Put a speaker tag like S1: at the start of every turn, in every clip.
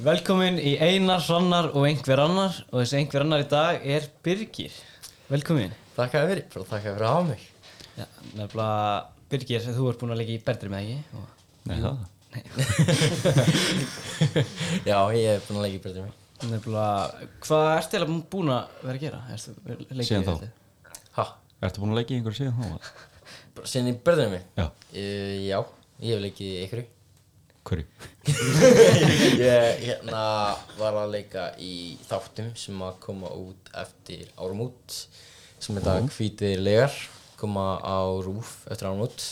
S1: Velkomin í Einar, Hrannar og einhver annar og þessi einhver annar í dag er Birgir Velkomin
S2: Takk að fyrir, bara takk að fyrir að hafa mig
S1: Já, nefnilega Birgir, þú ert búinn að leika í Bertri með ekki og...
S3: Nei, það.
S2: Já, ég hef búin að leika í breytið mig
S1: Nefnilega, hvað ertu eiginlega búinn að vera að gera? Ertu, leikið
S3: Síðan þá.
S2: Ha,
S3: Ertu búin að leggja í einhverju síðan þá?
S2: bara síðan í breytið mig
S3: Já,
S2: uh, Já, ég hef leikið í ykkur
S3: hverju?
S2: Ég hérna var að leika í þáttum sem að koma út eftir árumút sem heita uh. Hvítir legar koma á rúf eftir árumút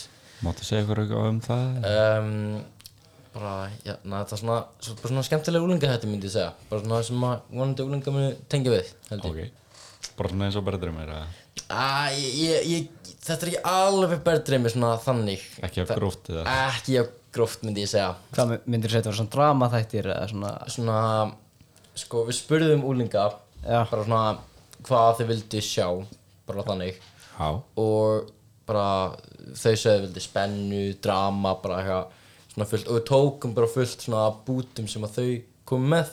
S3: Máttu segja ykkur eitthvað um það?
S2: um, bara, hérna, þetta er svona, svo- bara svona skemmtilega úlinga þetta myndi ég segja bara svona sem að vonandi úlinga muni tengja við held ég
S3: Ok. Bara svona eins og berður mér að
S2: Æ, ég, ég, þetta er ekki alveg berðdreimi svona þannig
S3: ekki hafa
S2: Þa-
S3: gróft eða
S2: Ekki af gróft myndi ég segja
S1: Hvað my- myndirðu segja þetta var svona drama þættir eða svona
S2: Svona, sko við spurðum úlinga
S1: Já.
S2: Bara svona hvað þau vildu sjá Bara þannig
S3: Há.
S2: Og bara þau sögðu vildu spennu, drama, bara eitthvað Svona fullt og við tókum bara fullt svona bútum sem að þau komu með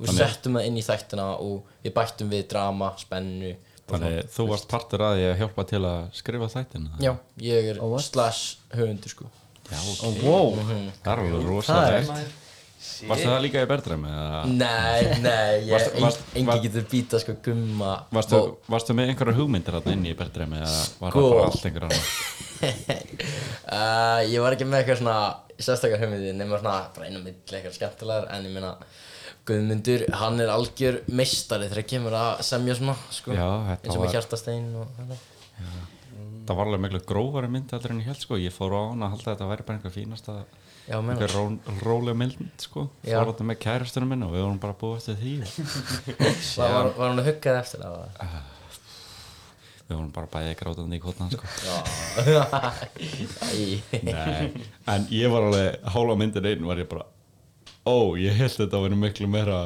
S2: Og við settum það inn í þættina og við bættum við drama, spennu bara
S3: Þannig þú varst partur að því að hjálpa til að skrifa þættina?
S2: Já, ég er slash höfundur sko
S3: Já, ok.
S1: oh, Wow,
S3: Það er alveg
S1: það
S3: rosalega.
S1: er
S3: Varstu það líka í berður mér eða?
S2: Mm. Nei, nei, ég,
S3: Varstu-
S2: eng-
S3: varst-
S2: enginn
S3: var-
S2: getur býta sko gumma
S3: Varstu, varstu með einhverja hugmyndir þarna inni í berðdremi eða var það
S2: Sko.
S3: bara allt einhverja annar?
S2: uh, Ég var ekki með eitthvað svona sérstakar hugmyndi nema svona bara einu milli eitthvað skemmtilegar en ég meina Guðmundur, hann er algjör meistari þegar kemur að semja svona sko
S3: Já, þetta
S2: eins og
S3: var-
S2: með hjartastein og þetta
S3: Það var alveg miklu grófari mynd heldur en ég held sko. Ég fór á hana að halda að þetta væri bara einhver fínasta,
S2: Já, meina,
S3: einhver ró, rólega mynd sko.
S2: Já.
S3: Fór þetta með kærastunum minn og við vorum bara búið eftir því.
S2: var, var, var hann að huggað eftir það? eða?
S3: Við vorum bara bæðið grátandi í kotna sko.
S2: Æ,
S3: Nei, en ég var alveg hálfa myndin einn var ég bara Ó, ég held þetta að vera miklu meira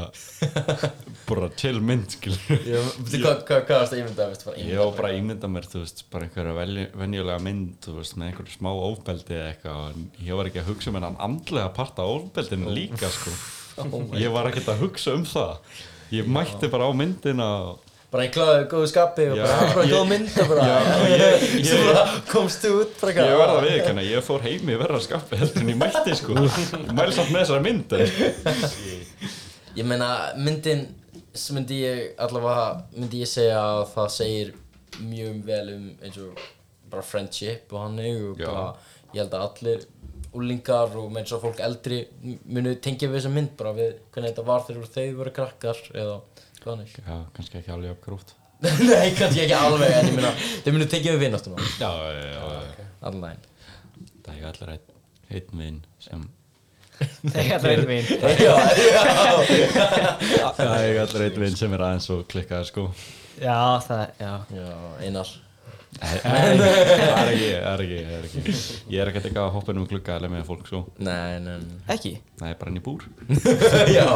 S3: bara til mynd, skilur
S2: ég- veitu hvað hvað- hvað varst að ímynda? veistu, bara
S3: Ég
S2: ímynda
S3: var bara að ímynda mér, þú veist, bara einhverja velj- venjulega mynd, þú veist, með einhverju smá ofbeldi eða eitthvað en ég var ekki að hugsa um hennan andlega part af ofbeldinu líka, sko Ég var ekkert að hugsa um það Ég mætti bara á myndina og
S2: bara í kláðu, góðu skapi og
S3: Já,
S2: bara, bara
S3: ég-
S2: góð mynd og bara,
S3: ég-
S2: svo bara komst þú út bara
S3: Ég verða við ekki, ég fór heimi verða skappi heldur en ég mætti, sko Ég mæli samt með þessari mynd, en
S2: Ég meina, myndin sem myndi ég allavega, myndi ég segja að það segir mjög vel um eins og bara friendship og hann og
S3: Já.
S2: bara, ég held að allir úlingar og meins og fólk eldri m- munu tengja við þessa mynd bara við hvernig þetta var þegar þau voru krakkar eða hvað hann er.
S3: Já, kannski ekki alveg uppgrútt
S2: Nei, kannski ekki alveg, en ég meina, þau munu tengja við vinnáttuna,
S3: Já, já, já, já.
S2: allavega.
S3: Það er allir einn, einn vinn sem
S1: þetta er einn veginn
S3: Það er allir einn vinn sem er aðeins og klikkaður sko
S1: Já, það, já
S2: Já, einar.
S3: Nei, það er ekki, það er ekki, það er ekki Ég er ekkert eitthvað að hoppa inn um glugga eða með fólk sko
S2: Nei, nei, nei.
S1: Ekki?
S3: Það er bara inn í búr
S2: Já,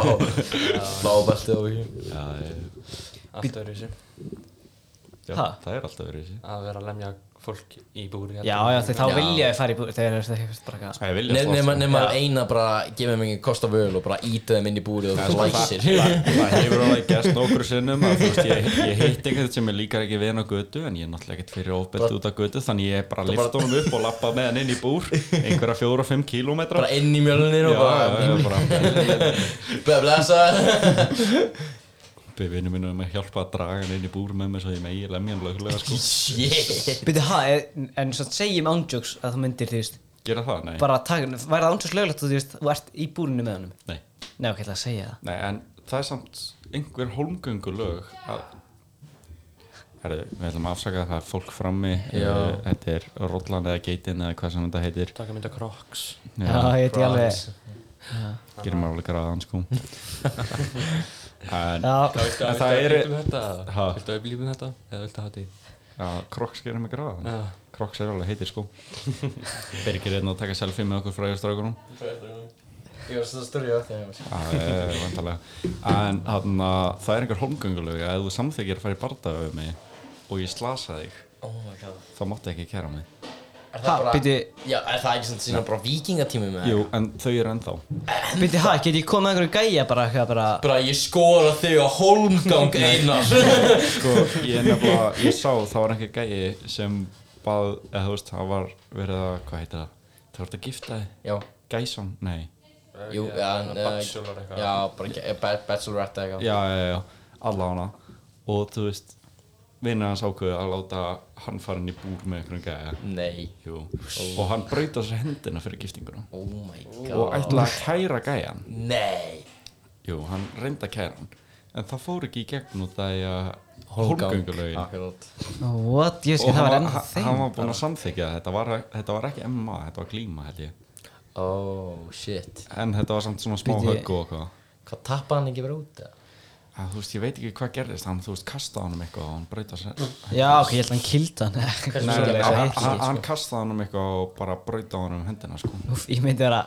S2: blábeltið og ekki.
S3: Já, ég-
S4: Allt öðru þessu
S3: já
S1: Ha?
S3: það er alltaf verið þessi
S4: Að vera að lemja fólk í búri
S1: Já, já, þeir þá
S2: Já.
S1: vilja ég fara í búið Þeir eru þetta bara eitthvað
S3: Það er vilja
S2: Nefnum
S3: sko.
S2: að nema eina bara gefa mig ekki kost af öl og bara íta þeim inn í búrið og læsir
S3: Það hefur alveg gæst nokkur sinnum að þú veist, ég, ég hitt einhvern sem er líkar ekki vin á götu en ég er náttúrulega ekkert fyrir ofbeldi út á götu þannig ég bara lift honum upp og lappa með hann inn í búr einhverja fjóra og fimm kílómetra
S2: bara inn í mjölnir og bara
S3: já, bara
S2: bara blessa
S3: Við vinnum minnum að hjálpa að draga hann inn í búr með mér svo ég megi lemja hann lögulega sko.
S2: shit
S1: Byrju, ha, en, en svo segjum ándjóks að þú myndir, þú veist
S3: Gera það? Nei.
S1: Bara taka, væri það ándjóks löglegt og þú veist Þú ert í búrinu með honum
S3: Nei.
S1: Nei, ok, ég ætla að segja það
S3: Nei, en það er samt einhver holmgöngu lög að... Herru, við ætlum að afsaka það er fólk frammi.
S2: Já.
S3: eh, Þetta er Rollan eða Geitin eða hvað sem þetta heitir.
S4: Taka mynda kroks
S1: Já, ég veit ég alveg
S3: Gerum alveg gráðan sko. en
S1: Já,
S3: En
S4: Það
S3: það
S4: er
S3: eru-
S4: Viltu að upplýfum
S3: Ha?
S4: þetta? Viltu að upplýfum þetta? Eða viltu að Ah. hafa þetta í?
S3: já, Crocs gerum við gráðan.
S4: Já.
S3: Crocs er alveg heitir sko. Birgir er hérna að taka selfie með okkur frægjastrákunum.
S2: ég var svona störri á þetta
S3: Já, já, já, já, væntanlega. en þarna, það er einhver holmgöngulög að ef þú samþykir að fara í bardaga við mig og ég slasa þig
S2: oh my god
S3: þá máttu ekki kæra mig
S2: Er það
S1: Ha,
S2: bara-
S1: býti,
S2: Já, er það ekki svona sína bara vikingatími með
S3: Jú, en þau eru ennþá
S1: býti, ha, get ég komið einhverju gæja bara, hvað bara
S2: Bara ég skora þig á holmgang einar
S3: Sko, ég nefnilega, ég sá, það var einhver gæi sem bað, eða þú veist, það var verið að, hvað heitir það? Það voru að gifta þig?
S2: Já,
S3: Gæsan? Nei.
S2: jú,
S4: Eða
S2: já,
S4: svona
S2: eh,
S4: bachelor eitthvað.
S2: Já, bara ge- ba- bachelorette eða eitthvað
S3: Já, já, já, já, alla hana. Og þú veist, vinnar hans ákveðu að láta hann fara inn í búr með einhverjum gæja.
S2: Nei,
S3: Jú. Og hann braut á sér hendina fyrir giftinguna.
S2: oh my
S3: Og
S2: god
S3: ætlaði að kæra gæjan.
S2: Nei
S3: Jú, hann reyndi að kæra hann En það fór ekki í gegn út af því að
S2: Hólmgang,
S3: Hólmgöngulögin
S2: Akkurát
S1: What, ég skil,
S3: hann
S1: það var
S3: var,
S1: ennþá
S3: hann- hann
S1: þeim
S3: var búinn að samþykja það. þetta var, þetta var ekki MMA, þetta var glíma held ég
S2: Oh shit
S3: En þetta var samt svona smá
S1: Bíddu.
S3: högg og eitthvað
S2: Hvað tappa hann ekki verið út eða?
S3: Að, Þú veist, ég veit ekki hvað gerðist Hann, þú veist, kastaði honum eitthvað og hann braut á sér
S1: Já, ok, ég held að hann kildi hann
S2: Hversu
S3: Nei,
S2: mikið
S3: nei,
S2: var
S3: hann-
S2: hitt,
S3: hann-
S2: sko?
S3: Hann kastaði honum eitthvað og bara braut á honum hendina sko
S1: Úf, ég myndi vera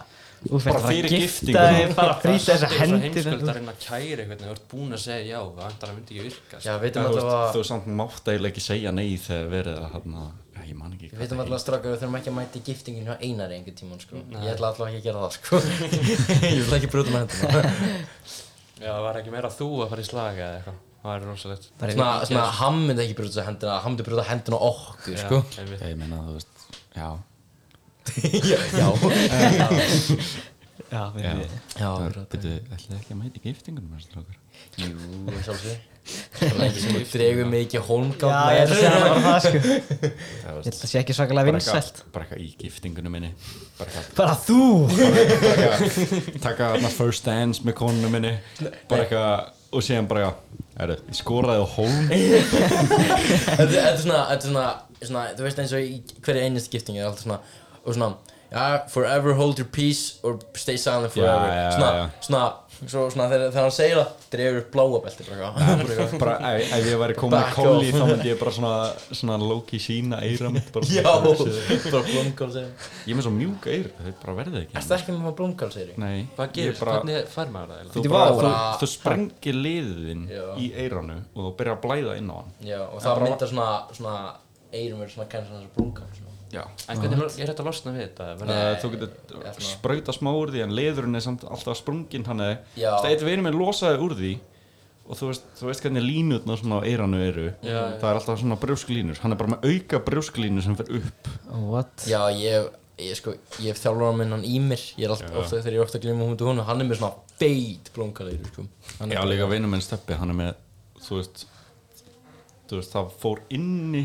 S1: Úf,
S3: Bara
S1: þetta var
S3: fyrir
S1: gifta
S3: giftingu.
S1: þig, bara frýta þessa hendi
S4: Það er svo heimskulda að reyna að kæra eitthvað Þú ert búin að segja já, það vantar að myndi ekki virka
S2: Já,
S4: sko.
S2: við veitum
S3: En Þú
S2: alltaf
S3: veist,
S2: að
S3: þú samt mátt eiginlega ekki segja nei þegar verið að hann Ég man ekki
S2: Við veitum
S3: það
S2: alltaf strákar, við þurfum ekki að mæta í giftinginu á einari einhvern tímann sko Ég ætla alltaf ekki að gera það sko Ég ætla ekki að brjóta með hendina
S4: Já, það var ekki meira þú að fara í slaga eða eitthvað Það var rosalegt
S2: Svona, svona, hann myndi ekki brjóta sér hendina, hann myndi brjóta hendina á okkur sko
S4: Já, einmitt.
S3: Ég meina, þú veist, já
S2: Já, já
S1: Já, við
S3: Já.
S2: Já, akkurát
S3: Byrju, ætlaði ekki að mæta í giftingunum þessar strákar?
S2: Jú, sjálfsög Það er ekki sem þú dregur mig ekki hólmgang
S1: Já, ég ætla að segja það bara það, sko Ég
S3: Það
S1: held að það sé ekki svakalega vinsælt
S3: Bara eitthvað í giftingunum minni Bara eitthvað-
S1: Bara þú
S3: bara eitthvað Taka þarna first dance með konunum minni Bara eitthvað Og síðan bara eitthvað Ég skoraði á hólm
S2: Þetta þetta er svona, þetta er svona, svona, þú veist eins og í hverju einnist giftingi er alltaf svona, og svona, já, forever hold your peace or stay silent forever.
S3: já,
S2: svona,
S3: já.
S2: svona, svo, svona þegar, þegar hann segir það, drefur upp bláa belti bara eitthvað.
S3: Bara ef, ef ég væri komið með
S2: Back
S3: kóli
S2: off.
S3: Þá myndi ég bara svona Svona loki sína eira mitt bara,
S2: Já, bara blómkál segir.
S3: Ég er með svo mjúk eir Þau bara verði ekki
S2: Erstu ekki með blómkál segir ég?
S3: Nei ég
S4: Hvað gerist?
S3: bara-
S4: Hvernig fær maður það
S3: Þú,
S4: eiginlega?
S1: Bíddu,
S3: bara,
S1: vá.
S3: þú,
S2: Bara-
S3: þú sprengir liðin
S2: Já.
S3: í eiranu og þú byrjar að blæða inn á hann
S2: Já, og það myndar svona, svona, eirum verður svona kænir svona blómkál svona.
S3: Já.
S4: En hvernig lo- er þetta að losna við þetta? Verða-
S3: Uh,
S2: Nei,
S3: þú getur
S2: ég ætla-
S3: sprauta smá úr því en leðurinn er samt alltaf sprunginn hann eða
S2: Já.
S3: Það eitt vinur minn losaði úr því og þú veist, þú veist hvernig línutna svona á eiranu eru
S4: Já,
S3: Það er alltaf svona brjósklínur, hann er bara með auka brjósklínu sem fer upp
S1: What?
S2: Já, ég, ég sko, ég hef þjálfur minn hann í mér, ég er alltaf, ofta, þegar ég er ofta að glíma hún til hún, hann er með svona beit blómkál eirum, sko. Hann er
S3: Já, líka vinur minn steppi, hann er með, þú veist, þú veist, það fór inni,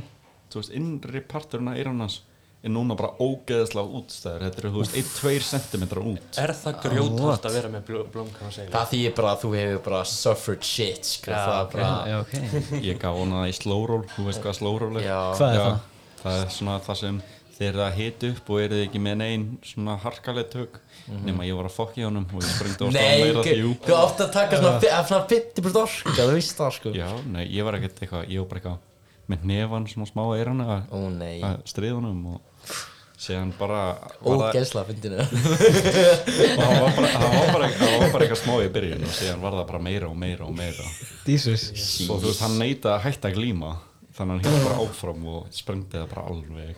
S3: þú veist, innri parturinn af eiranu hans er núna bara ógeðslega útstæður, þetta eru, þú veist, 1-2 cm út
S4: Er það grjóthart að vera með blómkana segla?
S2: Það þýðir bara að þú hefur bara suffered shit, sko,
S4: Já,
S2: það er bara,
S1: Já, ok
S3: Ég gaf hana það í slowroll, þú veist hvað slowroll er
S2: já,
S1: Hvað er
S3: Já,
S1: það?
S3: það er svona það sem þeir eru að hita upp og eru ekki með neinn svona harkaleg tök nema ég var að fokka í honum og ég springdi á staðan
S2: Mhm. nei,
S3: meira því jú
S2: ok, þú átt að taka svona, uh. svona 50% orka, þú veist það, sko.
S3: Já, nei, ég var ekkert eitthvað, ég var bara eitthvað með nefann svona smá eirana að-
S2: Ó, nei,
S3: að stríða honum og síðan bara var það-
S2: ógeðslega fyndinu.
S3: og það var bara- það var bara það var bara eitthvað smá í byrjun og síðan var það bara meira og meira og meira
S1: Jesus
S3: og þú veist, hann neitaði að hætta að glíma þannig að hann hitt bara áfram og sprengdi það bara alveg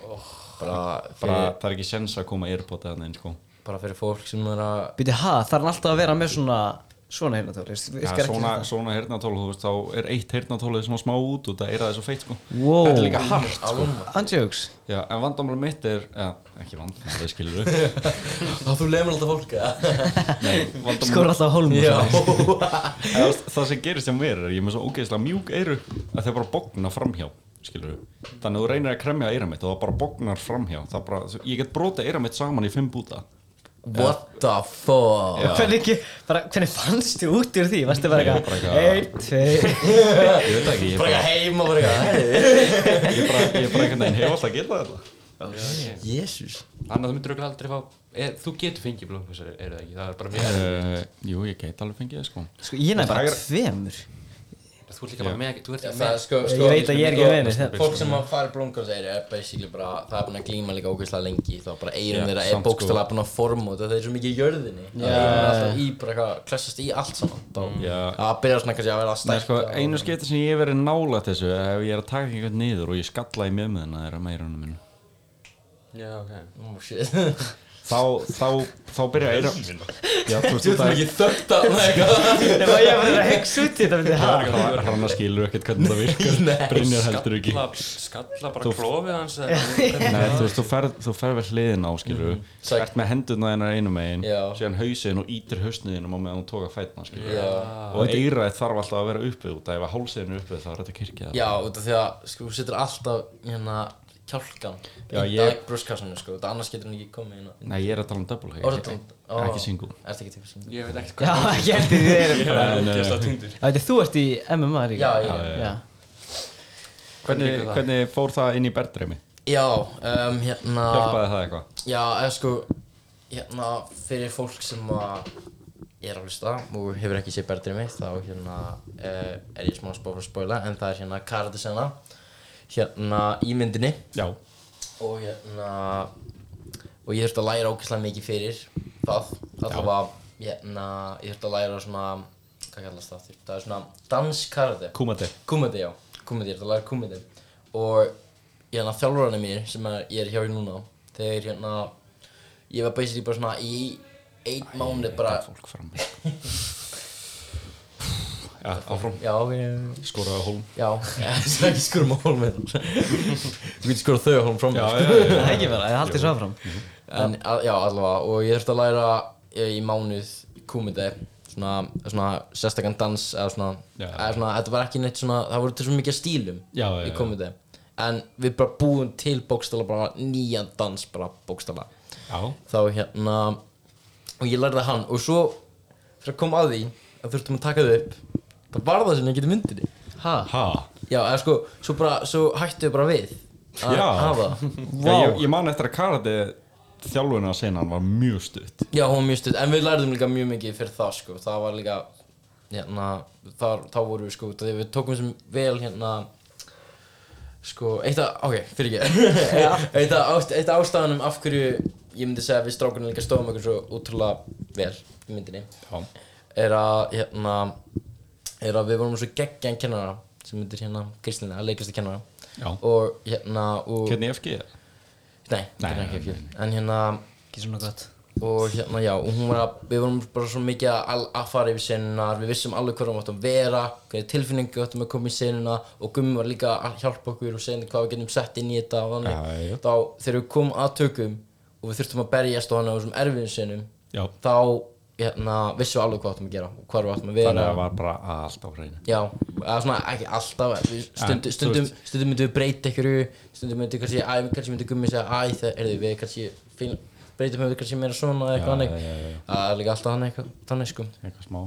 S2: bara,
S3: bara,
S2: fyrir,
S3: það er ekki sens að koma eirpota þannig eins sko
S2: bara fyrir fólk sem er að,
S1: Býti, ha, það er hann alltaf að vera með svona Svona hérna, þú veist
S3: Já,
S1: virkar ekki
S3: svona,
S1: þetta.
S3: svona heyrnartól, þú veist, þá er eitt heyrnartól svona smá út og það er aðeins svo feitt, sko.
S1: Wow.
S3: Þetta er líka hart, sko.
S1: Andjóks
S3: Já, en vandamál mitt er, ja, ekki vandamál, það skilur við.
S2: þá þú lemur alltaf fólk, eða?
S3: Nei, vandamál,
S1: Skor alltaf sko. hólm
S2: Já,
S3: eða, þú veist, það sem gerist hjá mér er, ég er með svo ógeðslega mjúk eyru að þau bara bogna framhjá, skilur við. Þannig að þú reynir að kremja eyra mitt og það bara bognar framhjá. Það bara, þú- ég get brotið eyra mitt saman í fimm búta.
S2: what the fuck?
S1: Hvernig, ekki- bara, hvernig fannst þið út úr því? Varstu bara
S3: Ég bara
S1: eitthvað
S3: eitthvað-
S1: Einn, tvei
S3: Ég veit það ekki, ég
S2: Bara
S3: bara,
S2: eitthvað heima, bara eitthvað,
S3: ég bara, ég bara einhvern veginn hef alltaf getað þetta.
S2: hei, jésús.
S4: Annað þú myndur aldrei fá er, Þú getur fengið blómkana eru það ekki? Það er bara mjög
S3: Uh, jú, ég get alveg fengið það, sko.
S1: Sko, ég nefn
S3: Það
S1: bara
S3: er-
S1: tveimur
S4: Þú ert líka bara með Þú ert
S2: Já, það,
S4: ekki með
S2: er sko,
S1: Ég
S2: sko,
S1: veit að ég er ekki
S2: sko,
S1: vinur, þetta-
S2: Fólk sem að fara í blómkálseyri er basically bara, það er búin að glíma líka ógeðslega lengi þá bara eirum
S3: Já,
S2: þeirra
S3: samt
S2: er
S3: sko.
S2: bókstala búin að forma þetta það er svo mikið í jörðinni það er alltaf í bara eitthvað, klessast í allt saman þá
S3: Já,
S2: það byrjar svona kannski að vera að
S3: Nei, sko,
S2: stækka og-
S3: einu skipti sem ég hef eh, verið nálægt þessu er ef ég er að taka einhvern niður og ég skalla í mjög með þeirra meirunum minn
S4: Já, ok.
S2: Oh shit
S3: þá, þá, þá byrja eira já, þú veist
S2: Þú ert
S3: þetta
S2: ekki þögt að það eitthvað
S1: Nefnum að ég var að hugsa út í þetta myndi ha.
S3: er hann að skilur ekkert hvernig það
S2: Nei.
S3: virkar Brynjar heldur ekki
S4: Skalla, skalla bara
S3: Þú-
S4: klófið hans eða-
S3: Nei, þú veist, þú ferð, þú ferð vel hliðin á, skilur mm.
S2: Sæk-
S3: Ert með hendurna hennar einu megin
S2: Mhm. Já.
S3: Síðan hausinn og ítir hausniðin og meðan hún tóka fætna, skilur
S2: Já.
S4: Ah,
S3: Og eiraðið þarf alltaf að vera uppið út af Ef að hálsiðin er uppið þá er þetta kirkjað
S2: Já, út af því að sko, þú setur alltaf hérna kjálkan
S3: Já,
S2: í
S3: ég-
S2: dag brúskassanum sko, þetta annars getur hann ekki komið hérna
S3: Nei, ég er að tala um double
S2: Orða
S3: ekki,
S2: tónd
S3: ekki single
S2: Ertu ekki til single?
S4: Ég veit ekkert
S1: Já,
S4: hvað
S1: ég held að þið erum
S4: það er.
S3: Nei, nei,
S4: Gesta
S3: nei.
S4: tundur.
S1: Þetta er þú ert í MMA
S2: Já,
S1: líka
S2: já,
S1: já,
S3: hvernig,
S4: Liggur það?
S3: hvernig fór það inn í berndreimi?
S2: Já, um, hérna
S3: Hjálpaði það eitthvað?
S2: Já, eða sko hérna fyrir fólk sem að er að hlusta og hefur ekki séð berðrið mig þá hérna uh, er ég smá spóf að spóla en það er hérna karatesena hérna í myndinni
S3: Já,
S2: og hérna og ég þurfti að læra ógeðslega mikið fyrir það alltaf að hérna ég þurfti að læra svona hvað kallast það það er svona danskarate
S3: kúmati
S2: komedi já komedi ég þurfti að læra komedi og hérna þjálfurarnir mér sem er, ég er hjá í núna þegar hérna ég var basically bara svona í einn mánuð bara
S3: Fólk fram Já, áfram
S2: já ég
S3: Skoraði á hólm
S2: já það er ekki skurum á hólmið þú getur skurað þau á hólm fram
S3: Já,
S2: sko.
S3: já, já, já.
S1: Það er ekki bara, ég haldi svo áfram
S2: En, a, já, allavega, og ég þurfti að læra eh, í mánuð kúmiti svona, svona sérstakann dans eða svona,
S3: Já.
S2: eða svona, þetta var ekki neitt svona, það voru til svo mikið af stílum
S3: Já, já,
S2: í
S3: já.
S2: kúmiti en við bara búum til bókstala bara nýjan dans bara bókstala
S3: Já,
S2: þá hérna og ég lærði hann og svo þegar kom að því að þurftum að taka þau upp það var það sem ég geti myndinni
S1: Ha?
S3: ha
S2: já, eða sko, svo bara, svo hættu við bara við að
S3: Já.
S2: hafa það
S3: Já, ég, ég man eftir að karate þjálfuna senan var mjög stutt
S2: Já, hún var mjög stutt, en við lærðum líka mjög mikið fyrir það sko, það var líka hérna, þar, þá vorum við sko út af því að við tókum sem vel hérna sko, eitt af, ok, fyrir ekki eitt af ást- eitt af ástæðanum af hverju ég myndi segja að við strákunum líka stóðum okkur svo útrúlega vel í myndinni
S3: Já
S2: er að hérna er að við vorum svo geggjan kennara sem myndir hérna Kristina, leikastu kennara
S3: Já.
S2: og hérna og,
S3: Hvernig FG er?
S2: nei, nei,
S3: Nei, nei,
S2: nei,
S3: nei,
S2: nei, en hérna
S1: Ekki svona gott
S2: og hérna já, og hún var að, við vorum bara svo mikið að, al- að fara yfir senunar, við vissum alveg hvað við áttum að vera, hverja tilfinningu við áttum að koma í senuna og Gummi var líka að hjálpa okkur og segja hvað við getum sett inn í þetta og þannig,
S3: Já, já.
S2: þá þegar við komum að tökum og við þurftum að berjast og hann á þessum erfiðum senum,
S3: Já.
S2: þá hérna, vissum við alveg hvað við áttum að gera og hvað við áttum að vera.
S3: Þannig að það var bara allt á hreinu
S2: Já, eða svona ekki alltaf, við stundum,
S3: þú
S2: stundum, stundum myndum við breyta ykkur, stundum myndum við kannski, æ, kannski myndum gummi segja, æ, það er við kannski, fín, breytum við kannski meira svona eða eitthvað annað,
S3: já,
S2: það er líka alltaf hann eitthvað, þannig sko.
S3: Eitthvað smá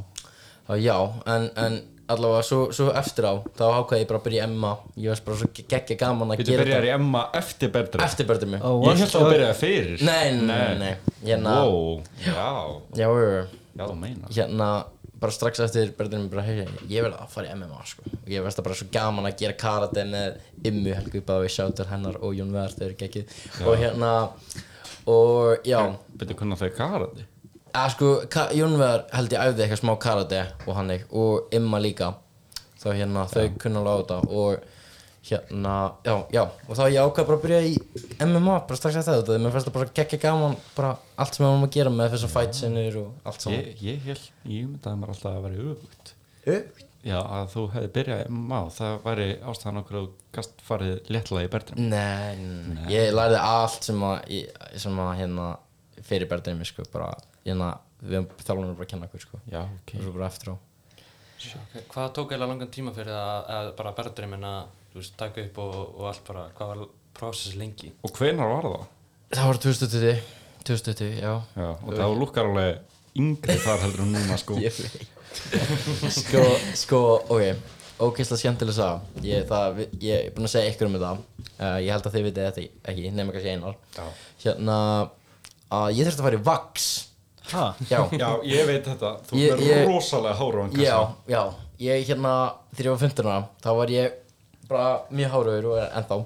S2: Þá já, en, en allavega svo, svo eftir á, þá ákvaði ég bara að byrja í Emma, ég var bara svo ge- geggja gaman að
S3: Þú
S2: gera
S3: byrjar í Emma eftir berndreim
S2: eftir börnum mig.
S1: Oh,
S3: Ég
S1: what?
S3: held að þú byrjaði fyrir
S2: Nei, nei, nei, nei, hérna,
S3: Wow, já,
S2: já, já, já.
S3: já, þú meinar
S2: hérna bara strax eftir berðinu bara heyja, ég verði að fara í MMA sko og ég verði bara svo gaman að gera karate með Immu Helgu Bávi, Sjátur hennar og Jón Veðar þau eru geggið og hérna og já
S3: Byrju hvernig þau karati
S2: að sko Ka- Jón Veðar held ég æfði eitthvað smá karate og hann ekki og Imma líka þá hérna þau kunna alveg á þetta og hérna já já og þá ég ákvað bara að byrja í MMA bara strax eftir þetta mér fannst það bara geggja gaman bara allt sem við varum að gera með þessar fight sinnur og allt saman
S3: Ég, ég held, ég myndaði mér alltaf að vera öfugt
S2: yeah.
S3: Já, að þú hefði byrjað í MMA Það væri ástæðan okkur að þú gast farið léttlega í berndreim
S2: Nei, nei, ég lærði allt sem að, ég- sem að hérna fyrir berðinni sko, bara hérna, við þjálfum bara að kenna okkur sko,
S3: Já, ok
S2: og svo bara eftir á.
S4: Ok, Hvað tók eiginlega langan tíma fyrir að, að bara berðdreimin að, þú veist, taka upp og, og allt bara, hvað var prósess lengi?
S3: Og hvenar var það?
S2: Það var 2020, 2020, já.
S3: Já, og það lukkar alveg yngri þar heldur en núna sko
S2: Ég veit. sko, sko, ok, ógeðslega skemmtileg sá, ég, það, við- ég er búinn að segja ykkur um þetta, uh, ég held að þið vitið þetta ekki, nema kannski einar.
S3: Já.
S2: Hérna, að ég þurfti að fara í VAX,
S1: Ha?
S2: já.
S3: Já, ég veit þetta, þú
S2: Ég-
S3: er
S2: ég-
S3: rosalega hárúan
S2: Já, já, ég hérna þegar ég var 15 ára, þá var ég bara mjög háraugur og er ennþá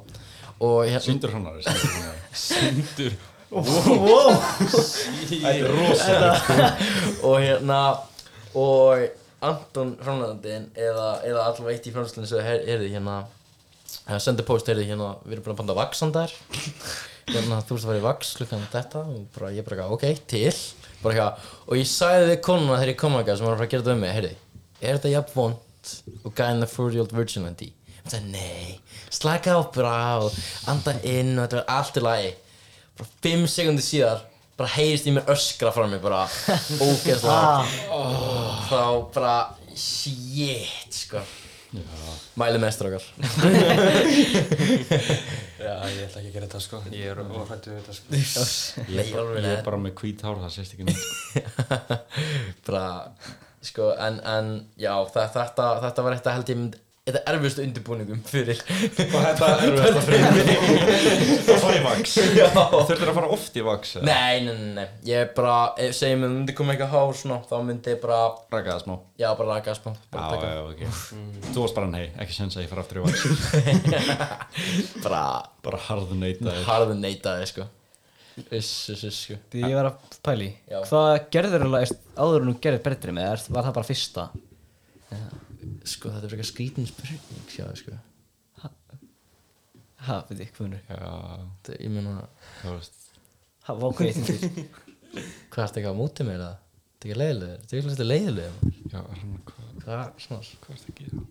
S2: og hérna,
S3: Sýndur hann aðeins sýndur hann aðeins.
S4: Tindur.
S3: Þetta er rosalega
S2: og hérna og Anton framlæðandinn eða, eða allavega eitt í framlæðandinn sem heyrði hérna eða sendi post heyrði hérna, við erum búin að banda vaxandar hérna, þú veist að fara í vaks klukkan þetta og bara, ég bara, eitthvað, ok, til bara eitthvað, og ég sagði við konuna þegar ég kom að sem var að fara að gera þetta um mig, heyrði er þetta jafn vond og guy in the 40 old virgin landi hann sagði, nei, slaka á bara og anda inn og þetta var allt í lagi bara 5 sekundi síðar bara heyrist í mér öskra frá mér bara ógeðslega
S3: Ah.
S2: oh, þá bara, shit sko, mæli með strákar
S4: Já, ég ætla ekki að gera þetta sko Ég er óhrættu við þetta sko
S2: Nei,
S3: Ég er bara,
S2: alveg
S3: ég
S2: nei.
S3: er bara með hvít hár, það sést ekki neitt sko.
S2: bara sko en, en já þa- þetta, þetta var eitthvað held ég mynd þetta erfiðustu undirbúningum fyrir
S3: Og þetta er þetta fyrir Það fara í vaks Þurftir að fara oft í vaks eða?
S2: nei, nei, nei, nei, ég bara ef- segjum við myndi koma eitthvað hár svona þá myndi ég bara,
S3: Raka það smá
S2: já bara raka smá bara,
S3: Já,
S2: taka-
S3: já, ok
S2: Mm.
S3: Þú varst bara nei, ekki sens að ég fara aftur í vaks
S2: bara
S3: Bara harðu neyta
S2: harðu neytaði sko uss, uss, uss sko
S1: Því ég var að pæli
S2: Já.
S1: Hvað gerður alveg áður en þú gerðir berðri með er, Var það bara fyrsta?
S2: sko þetta er frekar skrítin spurning sjá sko
S1: Ha, veit ég, hvað munur
S3: Já,
S2: þetta, ég meina
S3: þú veist
S1: Ha, vá, hvað ég þindir
S2: hvað ertu eitthvað á móti mér það þetta er ekki leiðilegur þetta er ekki leiðilegur maður.
S3: Já, hann, hvað,
S2: hvað svona
S3: hvað er það að gera?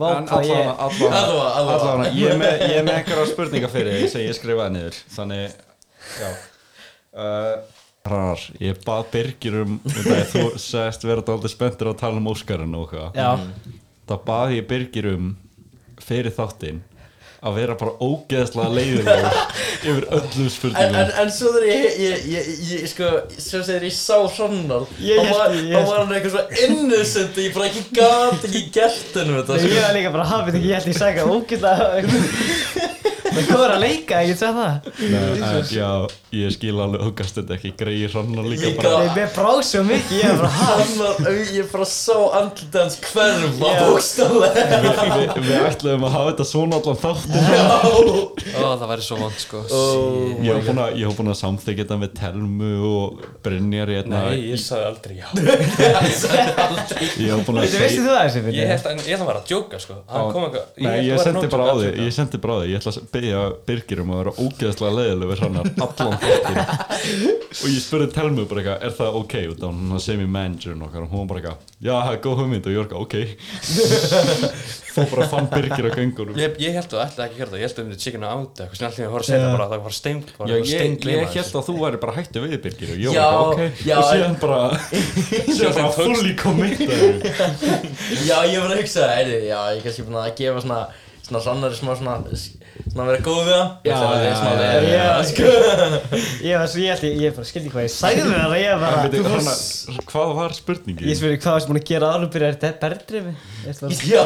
S1: Vá,
S3: En
S1: hvað ég
S3: allavega- allavega-
S2: Allavega, allavega.
S3: allavega, Ég er með, ég er með einhverja spurningar fyrir því sem ég skrifaði niður Þannig, já uh, Hrannar, ég bað Birgir um það, Þú sagðist vera dálítið spenntur að tala um Óskarinn og hvað
S1: Já,
S3: Þá bað ég Birgir um fyrir þáttinn að vera bara ógeðslega leiðilegur yfir öllum
S2: En, en,
S3: spurningum
S2: en svo þegar ég, ég, ég, ég, sko, svo þegar ég sá Hrannal
S3: Ég
S2: þá var,
S3: hélt- ég
S2: þá
S3: hélt-
S2: var hann eitthvað svo innocent og ég bara ekki gat ekki gert hennu þetta
S1: ég
S2: sko.
S1: var líka bara hafið ekki, ég held ég sagði ógæta Það var að leika, ég sagði það
S3: Nei, en, Já, ég skil alveg ógast þetta ekki greið Hrannar líka
S2: Líka.
S3: bara
S1: Ég mér brá svo mikið, ég var bara
S2: Hrannar, au, ég bara sá andlitið hans hverfa
S1: Já.
S2: bókstálega
S3: við, við, við ætluðum að hafa þetta svona allan þáttinn
S4: Ó, það væri svo vond sko
S3: Ég hef búin að, ég var búinn að samþykja þetta með Telmu og Brynjar hérna
S4: Nei,
S3: Ég
S4: ég sagði aldrei já
S3: hef búin að
S1: Þú veistu
S3: segja
S1: þú það þessi
S4: Ég held að ég ætla bara að djóka sko Hann kom eitthvað
S3: Nei, ég
S4: var að
S3: sendi bara á
S4: nota-
S3: þig, ég sendi bara á þig Ég ætla að byggja Birgir um að vera ógeðslega leiðileg við hrannar allan þáttinn Og ég spurði Telmu bara eitthvað, er það ok? Og þá var hún sem í managerin okkar og hún var bara eitthvað Já, það er góð hugmynd og ég var eitthvað, ok Fó bara fann Birgir á göngunum
S4: Ég, ég held að það ætla ekki að gera það, ég held að það myndi chicken out eitthvað sem alltaf ég voru að segja það bara, það var stein,
S3: Já,
S4: bara
S3: ég, ég
S4: steingleyma
S3: held að þú væri bara hættu við Birgir og ég
S2: Já,
S3: var eitthvað, ok
S2: já,
S3: Og síðan bara, síðan bara fully committed
S2: Já, ég var að hugsa það, heyrðu, já, ég er kannski búin að gefa svona svona Hrannari smá svona svona vera góð við hann
S3: Já, já, já,
S2: já,
S1: já.
S2: sko
S1: Ég var svo, ég held ég, ég bara skildi hvað ég sagði það Ég
S3: En
S1: bara,
S3: byrju,
S1: þú
S3: hana,
S1: fórst
S3: hvað var spurningin?
S1: Ég spyrir hvað varstu búin að gera áður en þú byrjar þetta berðrimi Ég ætla að-
S2: Já,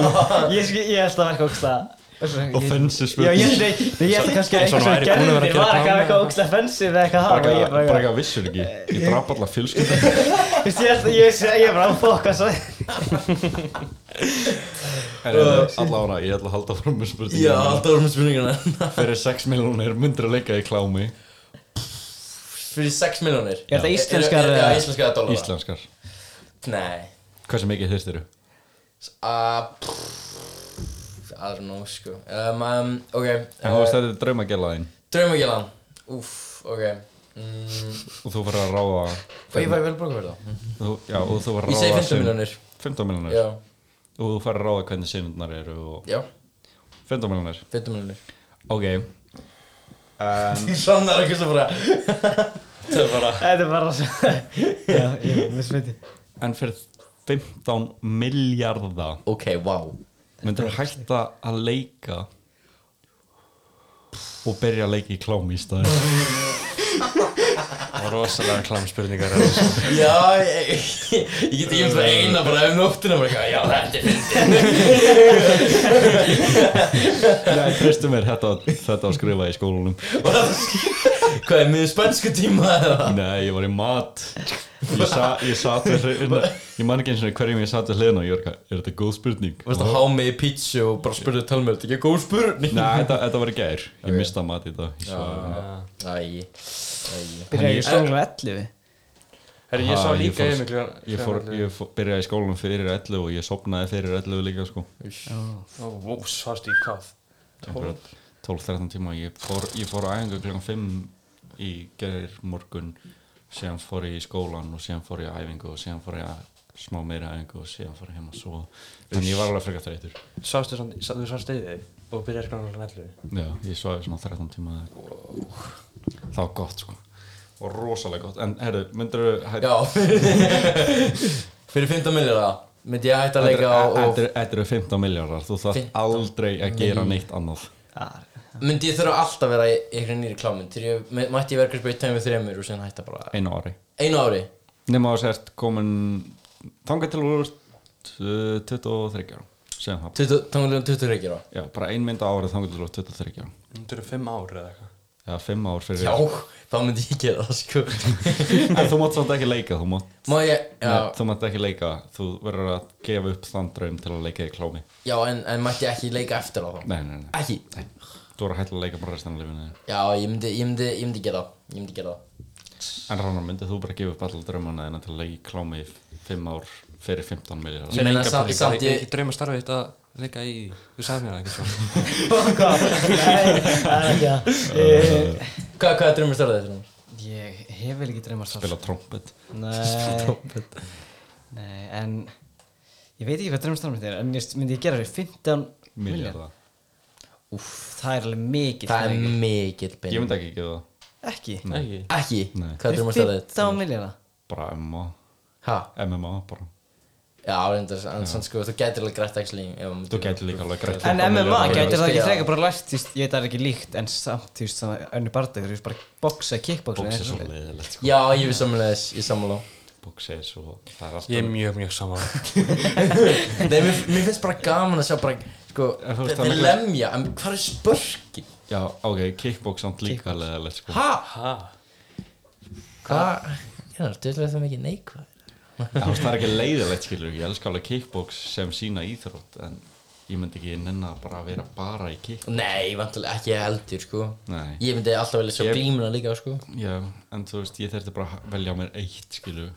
S1: Ég skil, ég held að það var eitthvað ógsta
S3: Offensive
S1: Já, ég held
S3: spurning
S1: að, ég held kannski að
S3: Eins og
S1: eitthvað
S3: hann
S1: sem
S3: væri búin að vera að
S1: gerðir var
S3: gera plan.
S1: eitthvað eitthvað ógsta offensive eða eitthvað
S3: Bara
S1: hafa Ég
S3: eitthvað- bara
S1: bara,
S3: eitthvað vissur ekki Ég draf alla fjölskylda
S1: þú veist, ég held að, ég veist, ég bara, fokk, hvað sagði
S3: Alla ára, ég ætla að halda fram með
S2: já,
S3: spurningin
S2: alltaf vorum spurninguna
S3: Fyrir 6 miljónir myndir að leika í klámi
S2: Fyrir 6 miljónir
S1: Er þetta íslenskar
S2: Já,
S1: eða-
S2: íslenskar dólar
S3: Íslenskar
S2: Nei
S3: Hversu mikið þeirst eru?
S2: Uh, pff, I don't know, sko. Um, um, ok.
S3: En þú
S2: Uh,
S3: veist þetta er draumagelaðin
S2: Draumagjölan. Úff, ok. Mm,
S3: Og þú fyrir að ráða
S2: og ég væri vel bróka fyrir það.
S3: þú- Já, og þú fyrir að
S2: Ég segi
S3: ráða
S2: 15 miljonir.
S3: 15
S2: Já,
S3: miljónir Og þú fyrir að ráða hvernig sinundnar eru og
S2: já,
S3: 15 miljónir
S2: 15 miljonir.
S3: Ok
S2: Um,
S3: En
S2: Sannar ekki svo bara.
S4: Það er bara,
S1: Þetta er bara svo Já, ég er smiti
S3: en fyrir 15 miljardar
S2: Ok, wow.
S3: myndir hætta að leika og byrja að leika í klám í staði
S4: það var rosalega klamspurningar
S2: Já, ég, ég, ég get ekki um það eina bara um nóttina bara eitthvað, já, þetta er fyndið.
S3: Nei, treystu mér, þetta, þetta að skrifa í skólanum
S2: Og það Hvað er miður spænsku tíma eða?
S3: Nei, ég var í mat Ég, sa, ég satt við hliðina Ég man ekki eins og hverjum ég satt við hliðina og ég var eitthvað, er þetta góð spurning?
S2: Varst að há mig í pítsu og bara spurði að tala mér, þetta er ekki góð spurning.
S3: Nei, þetta, þetta var í gær Ég mista mat í dag ég svaf.
S2: Æ, æ.
S1: Byrja ekki stónglega 11
S4: Herri, ég sá
S3: Ha,
S4: líka
S3: fór-
S4: yfir mig klukkan-
S3: Ég, fór, ég fór, byrjaði í skólanum fyrir 11 og ég sopnaði fyrir 11 líka sko
S4: Ó, vó, svast í hvað?
S3: Einhverja 12-13 tíma ég fór, ég fór á æfingu kl. 5 í gerir morgun síðan fór ég í skólan og síðan fór ég á æfingu og síðan fór ég að smá meira æfingu og síðan fór ég heim að svo en ég var alveg frekar þreytur
S4: Sástu samt, sá- þú sást yfir þig og byrjar skrána alveg nættu
S3: Já, ég svaði svona 13 tíma eða eitthvað. Það var gott sko og rosalega gott, en herru, myndir
S2: Já Fyrir 15 miljóra myndi ég hætta að leika og
S3: Þetta eru 15 miljardar, þú þarf
S2: 15
S3: aldrei að gera neitt annað
S2: myndi ég þurfa alltaf að vera í einhverjum nýri klámynd þegar ég m- mætti ég verkar spyrir tæmi þremur og sen hætta bara
S3: einu ári
S2: einu ári
S3: nema að sért komin þangað til úr eh, 23 ára sem það,
S2: 20 tónlega 20 reykir á
S3: já, bara ein mynd á ári þangað til úr 23 ára,
S4: Þú eru fimm ár eða eitthvað
S3: eða 5 ár fyrir
S2: Já, þá myndi ég gera það sko
S3: en þú mátt svolítið ekki leika þú mátt,
S2: Má ég, já,
S3: nei, þú mátt ekki leika þú verður að gefa upp þann draum til að leika í klámi
S2: já en, en mætti ég ekki leika eftir á þá
S3: nei, nei, nei,
S2: Ekki
S3: þú verður að hætta að leika bara restan af lifinu þínu.
S2: Já, ég myndi, ég myndi, ég myndi gera það Ég myndi gera það
S3: en rannar myndið þú bara gefa upp allar draumana en til að leika í klámi í 5 ár fyrir 15 miljardar
S2: Ég meina
S4: Líka
S2: samt,
S4: bara-
S2: samt
S4: Ég
S2: ég
S4: ekki drauma starfið þetta að leika í Þú sagði mér það ekki svo
S1: Nei,
S2: Hvað, hvað er drömmur stærðið þér?
S1: ég hef vel ekki dreymar sátt
S3: spila trompet
S1: Nei Nei, en Ég veit ekki hvað drömmastarfið er En ég myndi ég gera þér 15 milljarða
S3: miljardar,
S1: Úff, það er alveg mikið
S2: Það
S1: peningur.
S2: er mikill
S3: ég
S2: pening
S3: myndi ekki gefa það
S1: Ekki
S4: Ekki
S2: Ekki,
S3: Nei.
S2: hvað er drömmur stærðið þér?
S1: 15 milljarða
S3: bara MMA,
S2: Ha?
S3: MMA bara
S2: Já, reyndar, en sann sko, þú gætir alveg grætt actually ef hún-
S3: Þú gæti líka alveg greitt
S1: En
S3: 15
S1: MMA
S3: milljarða.
S1: gætir það ekki
S2: Já.
S1: frekar bara lært, þú veist, ég veit það er ekki líkt en samt, þú veist, þannig önnu barndeg, þú veist, bara boxa, kickboxa eða
S3: Box er svo
S1: svoleiðis.
S3: leiðilegt sko.
S2: Já, ég við samlega þess, ég samlega
S3: Box er svo sko. Það er alltaf
S4: Ég er mjög, mjög saman
S2: Nei, mér, mér finnst bara gaman að sjá bara, sko,
S3: En þú veist,
S2: þetta
S3: það er
S2: er
S3: miklu-
S2: lemja, en hvað er spörki?
S3: Já, ok, kickbox samt líka leiðilegt sko.
S2: Ha?
S4: Ha?
S2: Hvað? Ég er dyrlega það mikið neikvæð
S3: Já, þú veist, Það er ekki leiðilegt skilur Ég elska alveg kickbox sem sína íþrótt En ég myndi ekki nenni að bara vera bara í kick
S2: Nei, vantulega ekki heldur, sko
S3: Nei.
S2: Ég myndi alltaf velja sjá
S3: Ég-
S2: glímuna líka, sko
S3: Já, en þú veist, ég þurfti bara að velja mér eitt skilur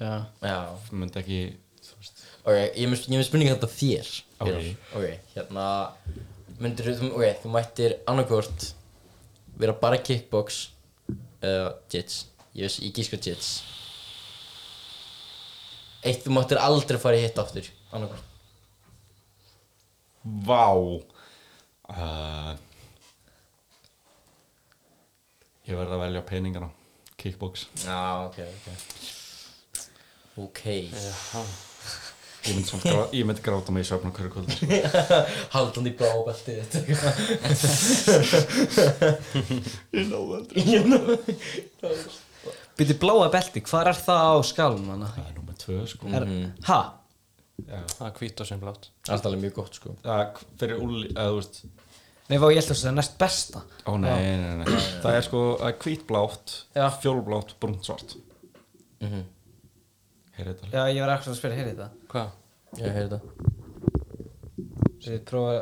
S1: Já.
S2: Já,
S3: Þú myndi ekki þú veist,
S2: ok, ég er með ég er með spurningu þetta þér
S3: Ok.
S2: Vinar. Ok, hérna, myndir þú, ok, þú mættir annarkvort vera bara kickbox eða jits Ég veist, ég gíska jits Eitt, þú máttir aldrei fara í hitt aftur Annarkvort
S3: Vá uh, Ég verði að velja peningana Kickbox
S2: Já, ok, ok Ok,
S3: Ég myndi, samt grá, ég myndi gráta mig í svefn á hverju kvöldi sko.
S2: haldan í blá beltið þetta
S3: Ég náðu aldrei
S1: Býttu bláa belti, hvað er það á skálum hana?
S3: Það er nummer tvö sko
S1: Er, ha?
S4: Það er hvít og sem blátt
S2: Alltaf alveg mjög gott, sko
S3: Það fyrir úli, eða þú veist
S1: Nei, vá, ég held að það er næst besta.
S3: Ó nei, nei, nei, nei Það er sko það er hvítblátt,
S1: Já.
S3: fjólblátt, brúnt, svart
S2: Mhm.
S3: Heyrðu þetta alveg?
S1: Já, ég var ekkert að spyrja, heyrðu þetta.
S4: Hvað?
S2: Já, heyrðu þetta
S1: Svo ég prófa,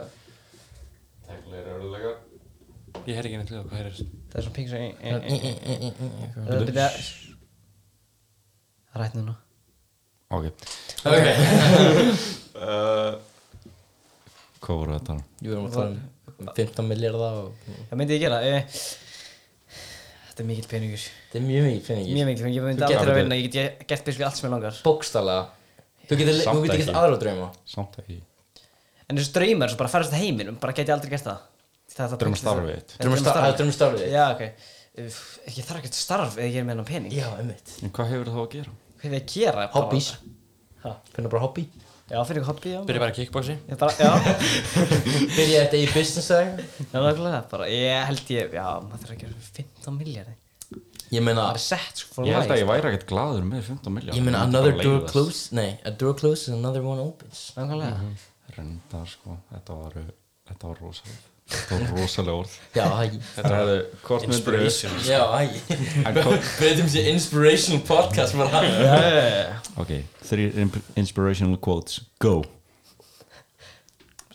S3: Teglir eru lega
S4: Ég heyr ekki neitt liða hvað heyrist
S1: það er svona pink
S3: Eh,
S1: svo... Það er byrja... Rætt núna.
S3: Ok
S2: Ok
S3: uh, Hvað voru þetta?
S2: Jú, við erum að tala um 15 miljardar og
S1: Það myndi ég gera. Eh, þetta er mikill peningur.
S2: þetta er mjög mikið peningi
S1: Mjög mikill peningur, ég myndi
S2: Þú getur-
S1: aldrei að vinna, ég get gert byrja allt sem ég langar.
S2: Bókstallega Þú getur
S3: Samt
S2: þú getur
S3: ekki.
S2: gert aðra drauma
S3: Samt ekki
S1: En þessu draumar, svo bara ferðast að heiminum, bara get ég aldrei gert það. það. er það
S3: Draumastarfið
S1: pengst-
S3: þitt.
S1: Já,
S2: Drauma starf,
S1: draumastarfið.
S2: drauma starfið
S1: Já, ok. Uff, Ég þarf ekkert starf eða ég er með hennan pening.
S2: Já, einmitt
S3: En hvað hefur það að gera?
S1: Hvað er ég að gera? Bara-
S2: Hobbís
S1: Ha?
S2: Finna bara hobby
S1: Já, fyrir ykkur hobby, já.
S4: Byrja bara í kickboxi
S1: Ég bara, já.
S2: Byrja þetta í business eða eitthvað
S1: Já, nákvæmlega, bara ég held ég, já, maður þarf að gera 15 miljardi
S2: Ég meina
S1: Það er sett sko for
S3: Ég held að
S1: life
S3: ég væri ekkert gladur með 15 miljón
S2: Ég meina another door closes Nei, a door closes another one opens
S1: Nákvæmlega
S3: Rundar sko, þetta var, þetta var rosalega Þetta var rosalega orð
S2: Já, hæ
S3: Þetta hefði, hvort myndir
S2: Já, hæ Breytum sér inspirational podcast bara
S1: Eh,
S3: Ok, þrýr inspirational quotes Go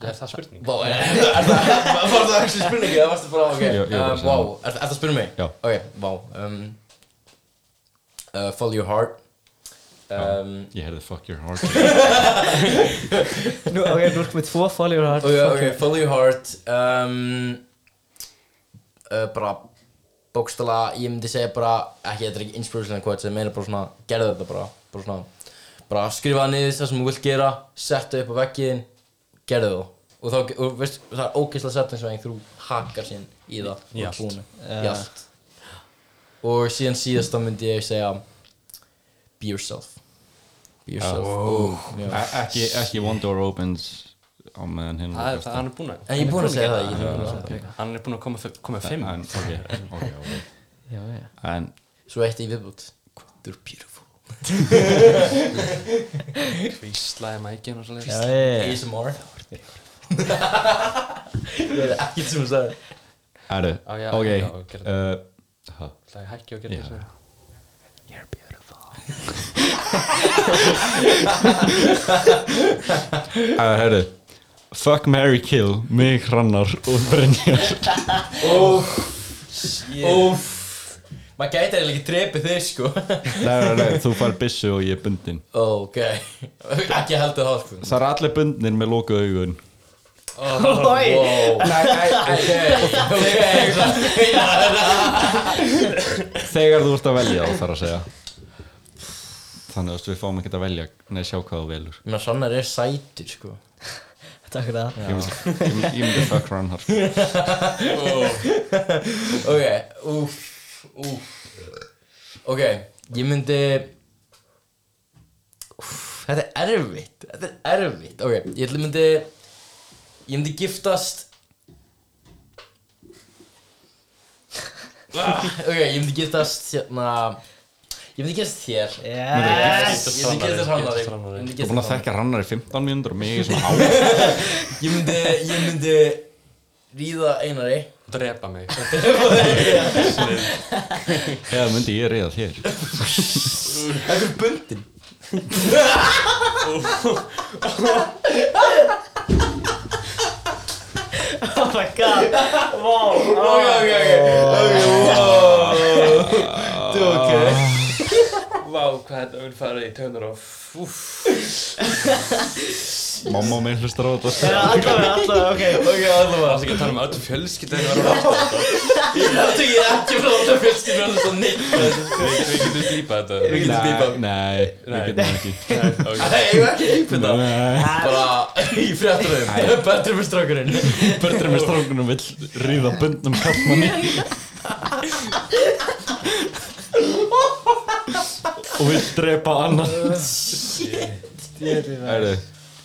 S4: Er það spurning?
S2: Vá, er er það Var það ekki spurningi? Það varstu bara, ok
S3: Ég- ég var bara að
S2: um, Vá,
S3: segja það.
S2: er er það að spurning mig?
S3: Já.
S2: Ok, vá um, uh, Follow your heart um,
S3: Ég heyrði fuck your heart
S1: Nú, ok, nú erum við tvo follower hard
S2: oh, Ok, ok, follow your heart um, uh, bara bókstala, ég myndi segja bara ekki, þetta er ekki inspirational quotes, ég meina bara svona gerðu þetta bara, bara svona bara skrifaðu niður það sem þú vilt gera settu upp á veggiðin, gerðu það og þá, og veist, það er ógeðslega setningsvæðing þú hakar síðan í það
S4: Í
S2: og
S4: allt.
S2: búinu, í
S1: Eh,
S2: allt og síðan síðast þá myndi ég segja be yourself be yourself og, já.
S3: E- ekki, ekki One Door Opens á meðan hinn
S4: Það er það, hann er búinn að
S2: en ég er búinn að segja það ég er búinn að segja það
S4: Hann er búinn að koma, f- koma með fimm
S3: En, ok, ok, ok
S1: já, já.
S3: En,
S2: svo eitt í viðbútt you're beautiful
S4: Hvíslaði mækinn og svo
S1: Já,
S4: leiðist
S1: já, já.
S2: ASMR ég er ekkert sem að segja
S3: erðu,
S4: Á, já,
S3: ok
S4: já, og gerðu
S3: uh, ha,
S4: Það er hækki og gera
S3: Já.
S4: þessu
S3: uh, Herðu Fuck, marry, kill, mig hrannar og Brynjar
S2: óf óf maður gæti eiginlega ekki drepið þig sko
S3: Nei, nei, nei, þú fær byssu og ég er bundin
S2: ok ekki heldur það sko
S3: Það er allir bundin með lokuð augun
S2: Oh, Oi! Nei,
S3: Þegar þú ert að velja þá þarf að segja Þannig að við fáum ekki að velja Nei, sjá hvað þú velur
S2: Mér sannar er sætur sko
S1: Takk fyrir það
S3: Ég myndi- Ég myndi- ég myndi fuck Rannar
S2: Ok, úf, úf Ok, ég myndi úf, Þetta er erfitt Þetta er erfitt Ok, ég ætla- myndi Ég myndi giftast Ah, Ok, ég myndi giftast hérna Ég myndi giftast þér
S1: Yes!
S2: Ég myndi giftast
S4: Giftast
S2: Hrannari
S4: Hrannari.
S2: Ég myndi
S3: Þú er
S2: giftast
S3: búin að
S2: Hrannari
S3: þekka Rannar í 15 mínútur og mig í svona hálf
S2: Ég myndi, ég myndi Ríða Einari
S4: Drepa mig
S3: Eða myndi ég reyða þér
S2: Þetta er bundin
S1: Oh my god Wow
S2: Ok, ok, ok Ok, wow Þú, ok
S4: Vá, hvað þetta vil fara í tönur og Úf
S3: Mamma og minn hlustar á þetta
S1: Allavega, allavega, ok
S2: Ok, allavega
S4: Það er ekki að tala um öll fjölskyldu Það er
S2: Ég hætti ég ekki frá þetta fjölskyldur og þetta neitt
S4: Við getum dýpa þetta
S2: Við getum bípa
S3: Nei, við
S4: Nei.
S3: getum það ekki
S2: Nei, ég var ekki að ípita
S3: Nei,
S2: Bara í fréttröðum Bættur með strákurinn
S3: Börnir með strákunum vill ríða bundnum kallmanni Og vill drepa annan Æru,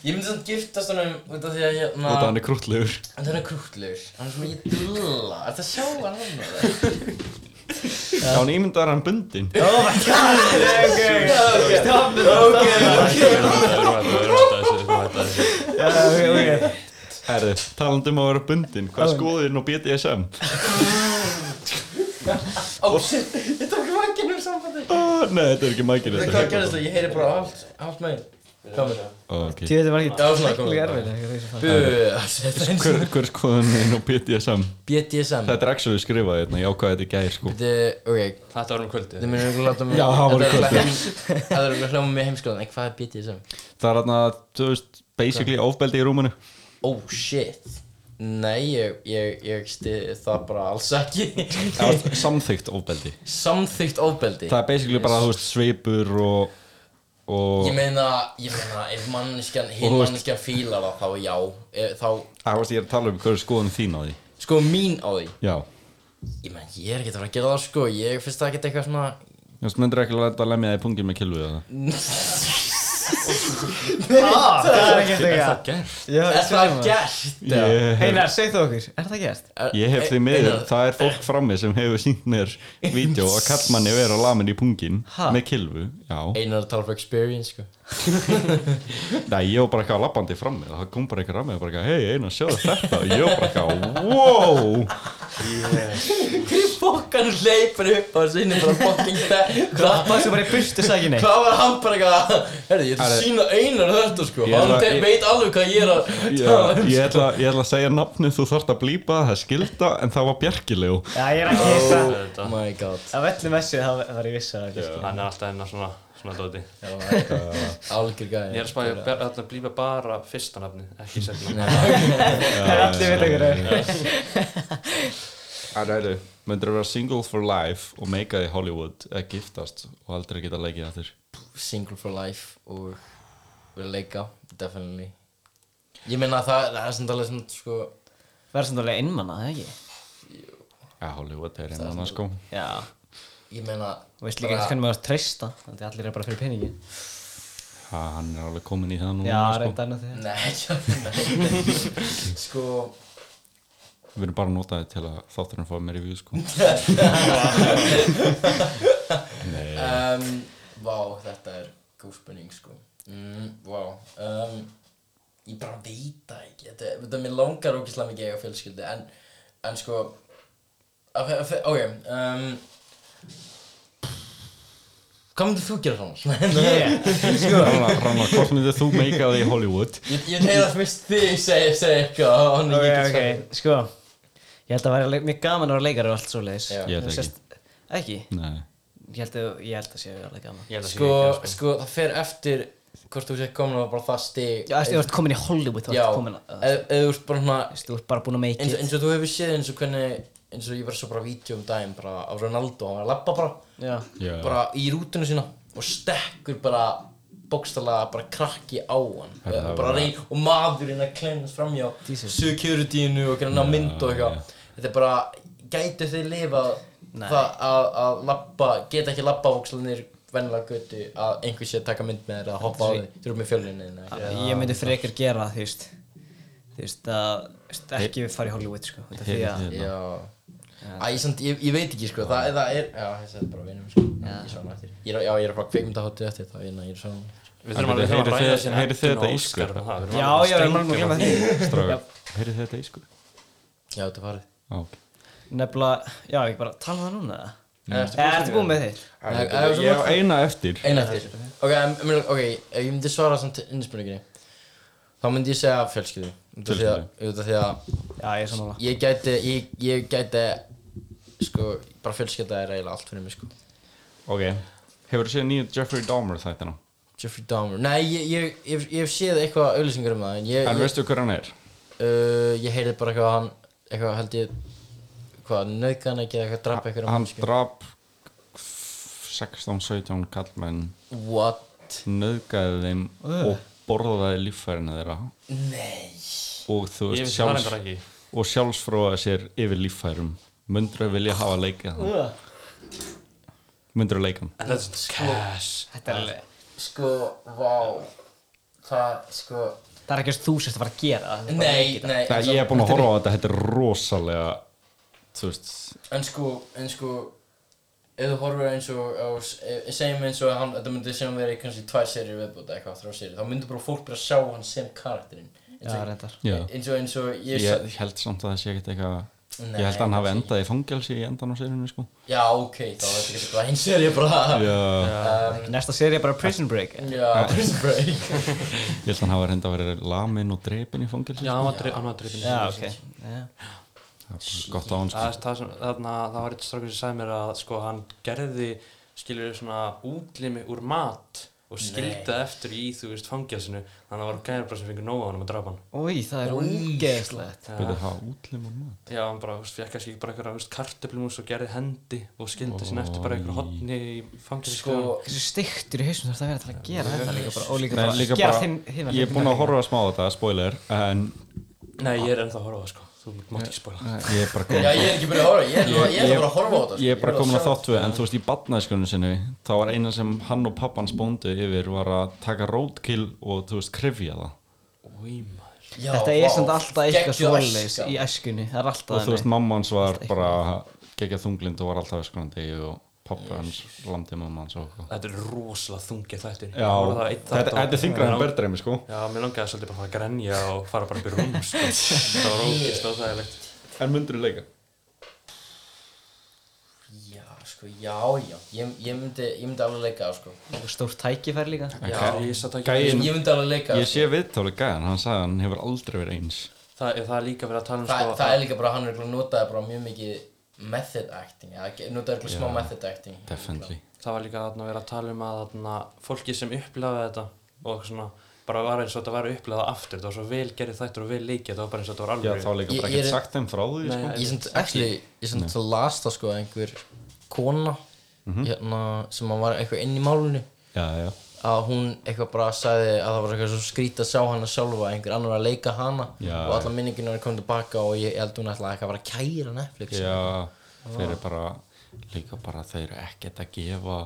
S2: Ég myndi samt giftast honum út af því að
S3: út
S2: hérna
S3: af hann er krútlegur
S2: En það er krúttlegur Hann er svo mikið dulla Er það sjá hann hann
S3: Já, hann ímyndaður hann bundin
S1: Oh my god Ok, ok Stoppu það
S2: Ok, ok
S1: Ok, ok
S3: Herri, talandi um að vera bundin, hvað skoðið þín á BDSM?
S2: Ó, shit Ég tók vakkinn úr sambandi
S3: Ah, nei, þetta er ekki mækir
S2: Veitu hvað gerðist það? Ég heyri bara allt Allt með Komur
S3: Okay.
S1: Tjóðið var ekki
S2: Já, svona, komum
S1: Ekki
S2: við.
S1: erfið Ekki reysa fann
S2: Bú
S3: Hver, hver skoðið þín á BDSM?
S2: BDSM
S3: Þetta er actually skrifað hérna, ég ákvaði þetta í gær sko
S2: Þetta, ok
S4: Þetta var um kvöldið
S2: Þið myndir að láta mig
S3: Já, það voru
S2: Þetta er
S3: kvöldið.
S2: hljóma- Það er að hljóma mér heimskoðan En hvað er BDSM?
S3: Það er hérna, þú veist, basically ofbeldi í rúminu
S2: Oh shit Nei, ég, ég, ég stiði það bara alls ekki
S3: Það var samþykkt ofbeldi
S2: Samþykkt ofbeldi
S3: Það er basically bara, þú veist, svipur og og
S2: Ég meina, ég meina Ef manneskjan,
S3: Og
S2: hinn
S3: þú veist-
S2: manneskjan fílar það Þá já, e, þá
S3: Það varst ég er að tala um hverju skoðun þín á því
S2: Sko mín á því
S3: Já
S2: Ég meina, ég er ekkert að fara að gera það sko Ég finnst það ekkert eitthvað svona
S3: Þú veist, myndir ekki að leta að lemja það í pungin með kilvið það
S1: Það er ekki þetta
S4: Er það
S1: ekki Já, ég sjáum
S2: Er það
S4: gert?
S1: það.
S2: gert?
S3: Ég hef,
S1: Einar, segð þú okkur Er það gert?
S2: Er-
S3: ég hef því
S2: e-
S3: miður,
S2: Einar,
S3: það er fólk frammi sem hefur sínt mér vídeo að kallmanni vera lamin í pungin
S1: Ha?
S3: með kilvu Já,
S2: Einar er að tala um experience sko
S3: Nei, ég var bara eitthvað labbandi frammi og það kom bara eitthvað rammi og bara eitthvað, hei, einu, sjáðu þetta og ég var bara eitthvað, wow
S2: Fokkan hleypur upp á sinni Bara fokkin
S1: Klappa þessu bara í burtu sagði nei
S2: Hvað var hann bara eitthvað Herri, ég ætla
S3: Herri.
S2: að sína einar þetta sko
S3: Ég
S2: Hann
S3: ætla-
S2: te-
S3: ég-
S2: veit alveg hvað ég er að tala
S3: Já,
S2: um
S3: ég,
S2: sko.
S3: ætla, ég ætla að segja nafnið, þú þarft að blípa, það er skilda, en það var bjergilegu.
S1: Já, ég er ekki hissa
S4: Það er þetta.
S2: Oh my god
S1: Af öllum þessu þá þá var ég viss að það er
S4: Hann er alltaf hennar svona Svona dóti
S2: Algjör
S4: Ég er
S2: gæði
S4: að spája að blífa bara fyrsta nafni Ekki setna
S1: Það er allir við okkur
S3: að ræðu, myndir að vera single for life og meika í Hollywood eða giftast og aldrei geta leikið aftur
S2: single for life og verið að leika, definitely ég meina það, það er sem talað svona sko,
S1: Verður samt alveg einmanna, það ekki?
S3: Já, Hollywood er einmann annars sko
S1: Já.
S2: ég meina
S1: Og veist líka ekki hvernig maður treysta, þannig að allir er bara fyrir peningi.
S3: ha, Hann er alveg komin í það núna
S1: Já,
S3: sko.
S1: reynda annað þegar.
S2: nei, nei, nei sko
S3: Við erum bara að nota þetta til að þátturinn fá meiri view sko
S2: um, vá, þetta er góð spurning sko mm, vá um, ég bara veit það ekki þetta, þetta mér langar ógislega mikið að eiga fjölskyldu en, en sko af- af- ok um, hvað myndir þú gera svona?
S3: Ranna, Ranna, hvort myndir þú meika það í Hollywood?
S2: Ég, ég reyna að fyrst þig segja segja eitthvað og hann
S1: Ok,
S2: ég get
S1: ok,
S2: sagt-
S1: sko. Ég held að það væri alveg- mjög gaman að vera leikari og allt svoleiðis.
S2: Já.
S3: Ég held
S1: Þú
S3: ekki.
S1: sést- Ekki?
S3: Nei,
S1: Ég held að, ég held að séu alveg gaman.
S4: Ég held að
S2: Sko,
S4: sé ekki,
S2: sko, það fer eftir hvort þú sér komin og bara það stig
S1: Já, eftir þú ert komin í Hollywood, þú
S2: Já,
S1: ert komin að...
S2: eða eða þú ert bara svona
S1: Þú veist, þú ert bara búin að make
S2: eins,
S1: it.
S2: eins og þú hefur séð eins og hvernig eins og ég var svo bara vídeo um daginn bara á Ronaldo, hann var að labba bara
S1: Já.
S3: Já.
S2: bara í rútinu sína og stekkur bara bókstallega bara krakki á hann
S3: Herra,
S2: Eða
S3: það
S2: bara
S3: var-
S2: reyn og maðurinn að klennast framhjá
S1: Jesus.
S2: securityinu og grann að mynd og eitthvað þetta er bara, gætu þið lifa
S1: Nei.
S2: það að, að labba geta ekki labba bókstallinir vennilega götu að einhver sé að taka mynd með þér eða hoppa á þig, þú eru með fjölunni
S1: Ég myndi frekar gera, þú veist, þú veist, að, þú veist, ekki fara í Hollywood, sko. Þetta því að,
S3: Hérna.
S2: Já Æ, ég, samt, ég, ég veit ekki sko, það, það er, já, þessi er bara vinum sko, ég sá hann eftir Ég er, já, ég er bara kveikmyndahótið eftir það, ég, ég er svona
S4: Við
S3: En
S4: þurfum alveg
S3: byrju,
S4: að
S3: heyrið
S4: ræða
S3: þið-
S4: síðan
S3: heyrið þið
S4: Eddu
S3: þetta
S4: og
S3: í
S4: Óskar
S3: skröp?
S4: og það, við erum
S1: já,
S4: alveg að
S1: já, ég er mann
S4: strengja
S1: að glemma
S4: það.
S1: því.
S3: Strákar, heyrið þið þetta í sko?
S2: Já, þetta er farið
S3: Á, ok.
S1: Nefnilega, já, ekki bara tala um það núna, eða?
S3: Mm.
S2: Nei, ertu
S1: Eða ertu búin með þig?
S2: Nei,
S3: Ég
S2: það er
S3: ég á
S2: svona-
S3: eina eftir
S2: Einn eftir Ok, em- em- ok, ef ég myndi svara samt innspurninginni Þá myndi ég segja fjölskyldu Út af því að, út af því að
S1: Já, ég er samanlega.
S2: ég gæti, ég, ég gæti, sko, bara fjölskylda er eiginlega allt fyrir mig sko
S3: Ok, hefur þú séð nýju Jeffrey Dahmer þættina?
S2: Jeffrey Dahmer, nei, ég, ég, ég, ég hef séð eitthvað auðlýsingar um það En ég,
S3: En
S2: ég,
S3: veistu hver hann er?
S2: uh, ég heyrði bara eitthvað að hann eitthvað held ég hvað, nöðgan ekki eða eitthvað drap eitthvað
S3: Hann drap 16-17 kallmenn
S2: what?
S3: nöðgæði þeim og borðaði líffærinu þeirra
S2: nei
S3: og þú
S4: Ég
S3: veist
S4: vissi það
S3: sjálfs
S4: reyndar ekki.
S3: og sjálfsfróaði sér yfir líffærum myndur að vilja hafa leikið hann myndur að leika hann
S4: That's cash
S1: Þetta er alveg,
S2: sko, vá það, sko
S1: það er ekki að þú sérst að fara að gera það.
S2: nei, nei, en,
S3: Það ég er
S2: samt-
S3: búin að horfa á þetta, þetta er rosalega þú veist
S2: en sko, en sko ef þú horfir eins og á, s- e- segjum eins og að hann, þetta myndi sem verið kannski tvær serið viðbúta eitthvað, þrjá serið, þá myndi bara fólk bara sjá hann sem karakterinn eins
S1: Já,
S2: og,
S1: reyndar.
S3: Já.
S2: eins og, eins og ég,
S3: ég held samt að það sé ekkert eitthvað
S2: Nei,
S3: ég held að hann hafi
S2: kannski
S3: endað í fangelsi í endan á sérinu sko
S2: já, ok, þá er þetta ekki bara eins serið bara
S3: Já,
S2: um,
S1: Næsta séri er bara Prison Break. eða?
S2: Já, sko, prison break
S3: ég held að hann hafi reynda að vera lamin og drepin í fangelsi sko.
S4: Já, hann var dre- hann var drifin
S1: Já, ok. Já.
S3: Það er gott á hann sko
S4: Það er það sem, þarna, það var eitt strákur sem sagði mér að sko hann gerði, skilur svona útlimi úr mat og skildi eftir í, þú veist, fangjarsinu þannig að það var gæður bara sem fengur nóg á hann að drapa hann
S1: Úi, það er ógeðslegt.
S3: Byrðu að hafa útlim og maður
S4: Já, hann bara, þú veist, fekk kannski bara eitthvað, þú veist, kartöflumús og gerði hendi og skildi oh, sinna eftir bara eitthvað hotni í fangjarsinu
S2: Sko,
S1: Hversu stygtur í hausnum þarf það að vera til að gera þetta líka bara, og líka
S3: Nei,
S1: bara
S3: líka
S1: gera
S3: bara-
S1: þinn hinn
S3: Ég er búin að horfa smá á þetta, spoiler En eh,
S4: Nei, ég er ennþá að horfa á það, sko, þú mátt ekki spóla
S3: ég er bara
S2: já
S3: komin
S2: ég er ekki byrjað að horfa, ég er, ég, er bara að horfa á þetta
S3: Ég er bara komin að
S2: sjá-
S3: þáttu En þú veist, í badnæskunum sinni þá var eina sem hann og pappan spóndu yfir Var að taka roadkill og þú veist, krifja það
S4: Új, maður
S2: Já,
S1: Þetta er
S2: vá,
S1: samt alltaf eitthvað
S2: geggjuð sko.
S1: svoleiðis
S2: æska.
S1: í æskunni, það er alltaf
S3: Og þú veist,
S1: þannig.
S3: mamma hans var bara Gekja þunglind og var alltaf öskunandi Og pappa hans landi mamma hans og eitthvað.
S4: Þetta er rosalega þungið þættir
S3: Já, þetta þetta er þingra en berðreimi sko
S4: Já, mér langaði svolítið bara að grenja og fara bara upp í rúm, sko. Það var ógist og það er leitt.
S3: En myndur leika?
S2: Já, sko, já, já Ég, ég, myndi, ég myndi alveg leika það, sko
S1: Og stórt tækifæri líka.
S2: Já,
S3: Gæinn-
S2: ég myndi alveg leika það,
S3: Ég sé viðtáli gæðan, hann sagði að hann hefur aldrei verið eins
S4: Það, það er líka verið að tala um
S2: Þa,
S4: sko
S2: Það er líka bara, hann er ekki notaði bara mjög mikið method acting ja, Notaði ekki smá method acting
S3: Definitely
S4: það var líka þarna verið að tala um að þarna, fólki sem upplæði þetta og svona bara var eins og þetta var upplegað aftur þetta var svo vel gerðið þættur og vel leikið þetta var bara eins og þetta var
S3: Já,
S4: alveg
S3: þá er líka
S2: Ég-
S3: bara
S2: ég er-
S3: ekkert sagt þeim frá því
S4: Nei,
S3: sko.
S2: Ég sem actually, ég sem það las það sko að einhver kona
S3: Mhm.
S2: hérna, sem að var eitthvað inn í málunni
S3: Já, já,
S2: að hún eitthvað bara sagði að það var eitthvað svo skrít að sjá hana sjálfa einhver annar var að leika hana
S3: Já,
S2: og alla minninginu er komið tilbaka og ég, ég held hún ætlaði eitthvað að vera að kæra Netflix
S3: já Þeir eru bara Líka bara þeir eru ekkert að gefa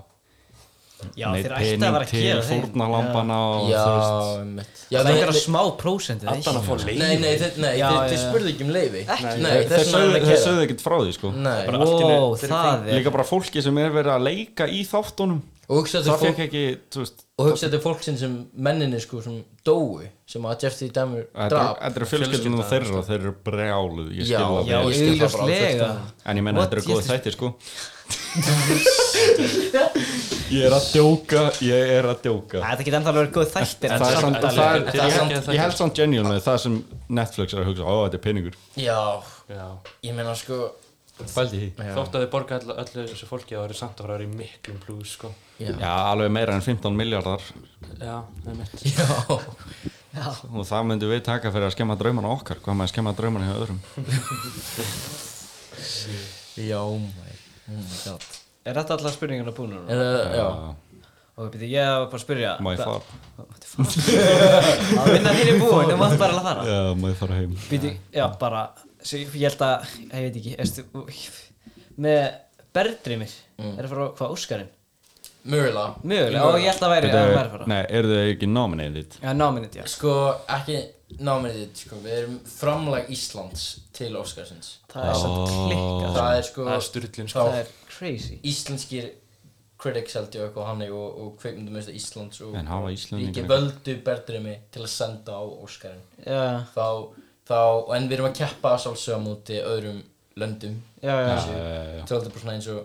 S1: Já,
S3: neitt
S1: þeir ætti að vera að gera
S3: til fórnarlampana og
S2: já,
S3: þú veist
S2: mitt
S1: Já, það er einhverja
S2: nei,
S1: smá prósendi
S4: Allan að fá leið
S2: nei, nei, þeir,
S1: Já,
S2: nei, þeir,
S1: já,
S2: þeir
S1: já.
S2: spurðu ekki um leiði
S1: Ekki?
S2: nei,
S3: Þeir- þeir
S2: þess vegna er
S3: sögðu-
S2: hann að
S3: þeir
S2: kæra
S3: sögðu ekkert frá því sko
S2: nei,
S4: Bara- allt í einu-
S1: Ó,
S4: þeir eru
S1: það er
S3: Líka bara fólki sem er verið að leika í þáttunum
S2: og hugsa
S3: Það
S2: þetta fólk
S3: fekk ekki, þú veist
S2: og hugsa þetta fólk sem, sem menninni sko sem dói sem að Jeffrey Dahmer
S3: Þetta
S2: draf
S3: þetta eru fjölskyldunum
S4: Fjölskyldan,
S3: þeirra, þeir eru brjáluð Ég skil
S2: Já,
S3: það
S1: Já,
S2: Ég
S3: vel
S2: skil það bara
S1: augljóslega
S3: En ég menna
S1: What
S3: þetta eru góð
S1: is this-
S3: þættir sko Ég er að djóka, ég er að djóka
S1: Æ, Það geta ennþá verið góð þættir en
S3: Það er
S1: samt-
S3: samt, það
S4: alveg-
S3: er,
S4: þetta er
S3: ég,
S4: samt-
S3: held, ég held samt genuine með það sem Netflix er að hugsa, ó þetta er peningur
S2: já,
S4: Já.
S2: ég meina sko
S3: Fældi því
S2: já,
S4: þótt að þið borga öllu, öllu þessu fólki þá eru samt að fara að vera í miklum plus sko.
S2: já,
S3: Já, alveg meira en 15 miljardar
S4: já, það er mitt
S2: já.
S3: og það myndum við taka fyrir að skemma draumana okkar hvað maður skemma draumana hjá öðrum
S2: Já, mæ, oh my god
S1: Er þetta allar spurninguna búin
S2: Er
S1: núna?
S2: það, uh, já,
S1: Og byrju, ég var bara að spyrja
S3: Má ég
S1: það-
S3: fara?
S1: Að vinna þín er búin, þú mátt bara að fara
S3: Já, má ég fara heim
S1: Býti, já, bara svo Ég ég held að, ég veit ekki erstu, Með berðdreymir Er það frá hvað Óskarinn?
S2: mögulega
S1: Mm. Mögulega, og ég held að væri að
S3: Bíddu,
S1: væri að fara
S3: Nei, eru þau ekki nominated?
S1: Já, nominate, já
S2: Sko, ekki náminnið, sko, við erum framlag Íslands til Óskarsins
S1: Það er samt klikkað
S2: Það er sko,
S4: það er styrlun sko.
S2: Já.
S1: Það er crazy
S2: íslenskir critics held ég og eitthvað hannig og, og kveikmyndumist Íslands og
S3: En hafa Íslendingar
S2: ríki
S3: eitthvað?
S2: völdu berðurimi til að senda á Óskarinn
S1: Já,
S2: Þá, þá, en við erum að keppa sálsögum úti öðrum löndum
S1: já, já
S3: Já, já, já.
S2: Til alltaf bara svona eins og,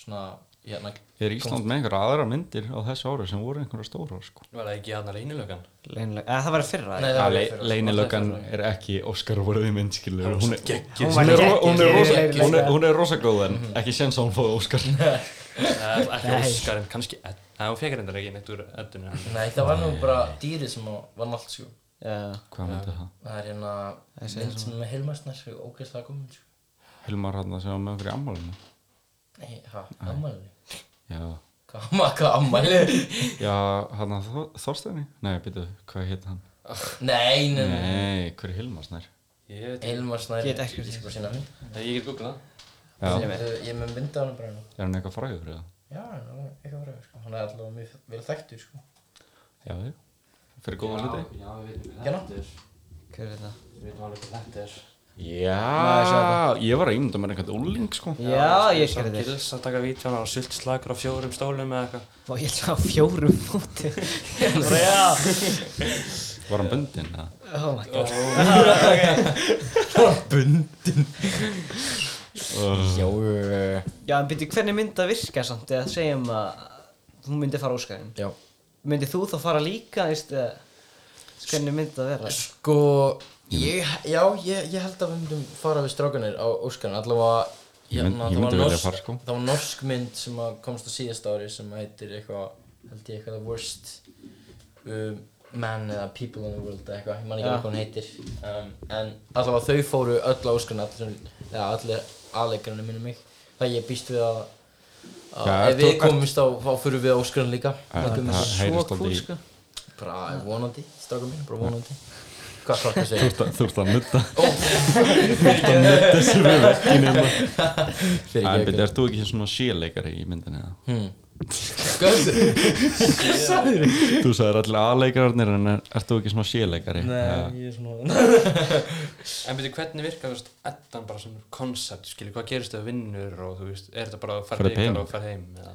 S2: svona, hérna
S3: Er Ísland með einhverja aðra myndir á þessu ári sem voru einhverja stóra sko?
S4: var það ekki aðna reynilögan
S1: Leynileg, eða það var fyrra
S2: Nei,
S1: Nei,
S2: það var í
S3: Le
S2: fyrra, sko.
S3: Leynilöggan er ekki Óskar voruði mynd, skilur Hún er
S1: Hún
S3: Hún
S1: var
S3: er,
S1: geggjuð.
S3: hún, er rosa,
S1: Leiðileg.
S3: hún, er, hún er rosa góð en ekki séns að hún fóði Óskar
S4: ekki
S1: Nei.
S4: Óskarinn, kannski Ed- Nei, hún fekk reyndar ekki neitt úr eddunni
S2: Nei, það var nú bara dýrið sem að vann allt, sko
S1: já,
S3: Hvað myndi það?
S2: Það er hérna mynd sem er heilmarsnar og ógeðslega komin sko.
S3: Hilmar hann að segja með okkur í ammálinu
S2: Nei, hæ, ammæli
S3: Já,
S2: Hvað amma- hvað ammæli?
S3: Já hann að Þor- Þorsteini? Nei, býtu, hvað hétt hann?
S2: Nei, nei, nei
S3: Nei, hver er Hilmar snær?
S4: ég veit ekki,
S2: Heilmarsnar
S1: Get ekki-
S2: Ég skal bara sína mynd
S4: Nei, ég get googlað
S3: Já,
S2: Ég með- Ég með mynda hann bara nú
S3: er hann eitthvað fræður fyrir það?
S2: Já, hann er eitthvað fræður sko Hann er alltaf mjög vel þekktur sko
S3: Já, já Fyrir góða hluti?
S4: já, við veitum
S2: Hérna?
S1: hver er það?
S4: við veitum alveg hvað þetta er
S3: Já, ég var að ímynda mér einhvern úling sko
S1: Já, ég
S4: Samt
S1: gerði þér
S4: gils um að taka vítjana og sult slagur á fjórum stólum eða eitthvað
S1: Vá, ég held að á fjórum fóti Bara já
S3: Var hann bundinn? eða?
S1: Oh my god
S2: Jó
S1: Já, en byrju, hvernig myndi það virka samt eða segjum að hún myndi fara á Óskarinn
S2: Já
S1: Myndi þú þá fara líka, veist eða Hvernig myndi það vera?
S2: Sko, ég, já, ég, ég held að við myndum fara við strákanir á Óskarinn Allavega
S3: Ég mynd-
S2: hérna, það var
S3: ég myndi vilja
S2: norsk-
S3: fara, sko.
S2: Það var norsk mynd sem að komst á síðast ári sem heitir eitthvað, held ég eitthvað The Worst um, Man eða People in the World eða eitthvað, ég man ekki
S1: Já.
S2: hvað hún heitir um, En allavega þau fóru öll á Óskarinn, allir, eða allir aðleikarinn minni mig Það ég býst við að, að
S3: Já,
S2: ef
S3: þú-
S2: við
S3: ert-
S2: komumst á, þá fyrir við á Óskarinn líka
S3: Já,
S2: Tökum
S3: það
S2: þessu-
S3: heyrist aldrei í-
S1: sko
S2: Bara vonandi, strákan mín, bara vonandi Hvað krakkar segir?
S3: Þú ert að- þú ert að nutta Þú ert að nutta þessu við verkinu
S2: Fyrir
S3: En
S2: ekki
S3: byrja, ert þú ekki svona síleikari í myndinni? eða?
S2: Gauð
S3: Þú sagðir allir aðleikararnir en er- ert þú ekki svona síleikari?
S2: Nei, ég er svona
S4: En veitu hvernig virkar þú veist eddan bara sem koncept, skilju, hvað gerist þau vinnur og þú veist, er þetta bara að fara
S3: Ferðu heim?
S4: ykkar og fara heim eða?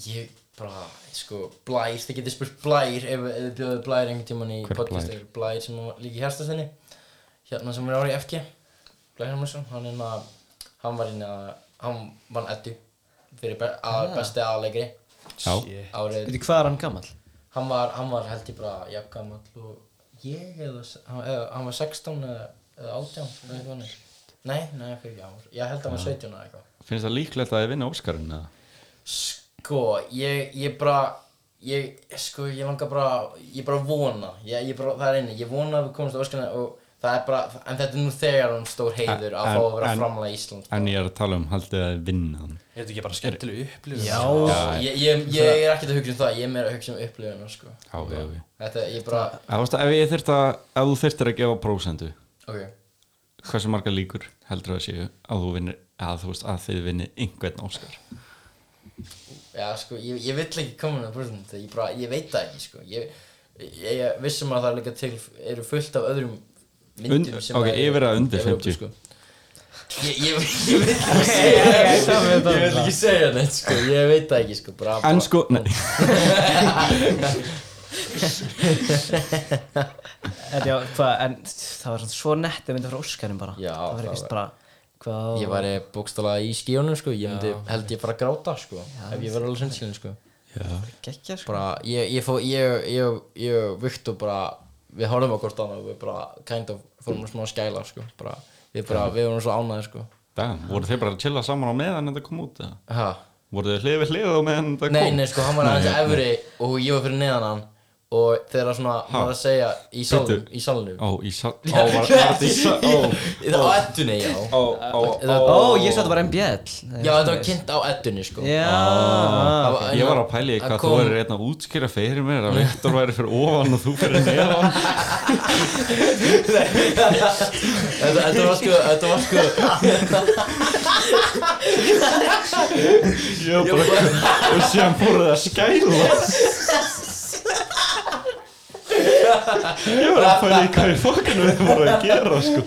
S2: Ég bara, sko, blær Þið getið spurt blær Ef ef þið bjóðu blær einhvern tímann í
S3: Hver er
S2: podcast
S3: Blær?
S2: er Blær sem var líka í herstastenni Hérna sem er ári í FG Blær Hermansson, hann er hérna Hann var hérna, hann vann Eddu Fyrir be að besti aðleikri
S3: Já.
S4: Shit.
S2: Árið
S1: Byrju, hvað er hann gamall?
S2: Hann var, hann var held ég bara jafngamall og ég eða, hann, eða, hann var 16 eða, eða 18, eða eitthvað hann Nei, nei, ekki, já, ég held að hann
S3: Ah.
S2: var 17 eða eitthvað
S3: Finnst það líklegt að þið vinna Óskarinn? eða?
S2: Sko, ég, ég bara, ég, sko, ég langar bara, ég bara vona, ég, ég bara, það er einu, ég vona að við komumst á Óskarna og það er bara, en þetta er nú þegar um stór heiður að
S3: En-
S2: fá að vera
S3: en-
S2: framlega í Ísland.
S3: En ég er að tala um haldið að vinna hann
S4: Er þetta ekki bara skemmtileg upplifun?
S2: Já,
S3: Já,
S2: ég, ég, ég er ekkert að hugsa um það, ég er meira að hugsa um upplifuna, sko.
S3: Já, já, já
S2: Þetta, ég bara,
S3: Það varst að ef ég þyrft að, ef þú þyrftir að gefa prósendu
S2: ok,
S3: Hversu marga líkur heldur það séu að þú vinnir, að þú veist að þið vinnir einhvern Óskar
S2: já, sko, ég, ég vill ekki koma með brúðum, ég bara, ég veit það ekki, sko. Ég, ég, ég vissum að það er líka til, eru fullt af öðrum myndum
S3: Und-
S2: sem
S3: ok,
S2: að-
S3: yfir að undir
S2: Evrópu,
S3: 50.
S2: sko. Ég, ég, ég veit það ekki segja Ég vil ekki segja neitt sko Ég veit það ekki sko bara,
S3: En sko, nei,
S1: En, já, hva, en það var svona svo nett að mynda frá Óskarum bara
S2: Já,
S1: það var
S2: það
S1: ekkert
S2: var-
S1: bara hvað,
S2: Ég væri bókstala í skíunum sko Ég myndi, held ég bara að gráta sko Ef ég verið alveg sinnskilin sko
S1: geggja sko.
S2: Bara, ég, ég fó, ég, ég, ég Viktu bara, við horfum á hvort annað og Við bara, kind of, fórum smá að skæla sko bara, Við bara, við vorum svo ánæði sko
S3: damn, voru þið bara að chilla saman á meðan þetta kom út eða?
S2: Ha?
S3: Voru þið hlið við hlið á meðan þetta kom?
S2: Nei, nei sko, hann var aðeins efri Og ég var fyrir neðan hann Og þegar svona, hann var að segja í salnum
S3: Bíddu.
S2: Í salnum
S3: Ó, í sal, ó, var, var þetta í sal, ó,
S2: Það á ettunni, já
S3: ó, ó, ó
S1: ó, ég sagði þetta var MBL
S2: Já, þetta var kynnt á ettunni sko
S1: já,
S2: Það
S3: Ah, Ég var að pæla í
S2: það
S3: hvað þú
S2: kom-
S3: verður einn að útskýra fyrir mér að Viktor væri fyrir ofan og þú fyrir neðan
S2: Þetta þetta var sko, þetta var sko
S3: Ég var bara, og síðan fóruð það að skæla Ég var að pæla í hvað í fokkanu þið voru að gera sko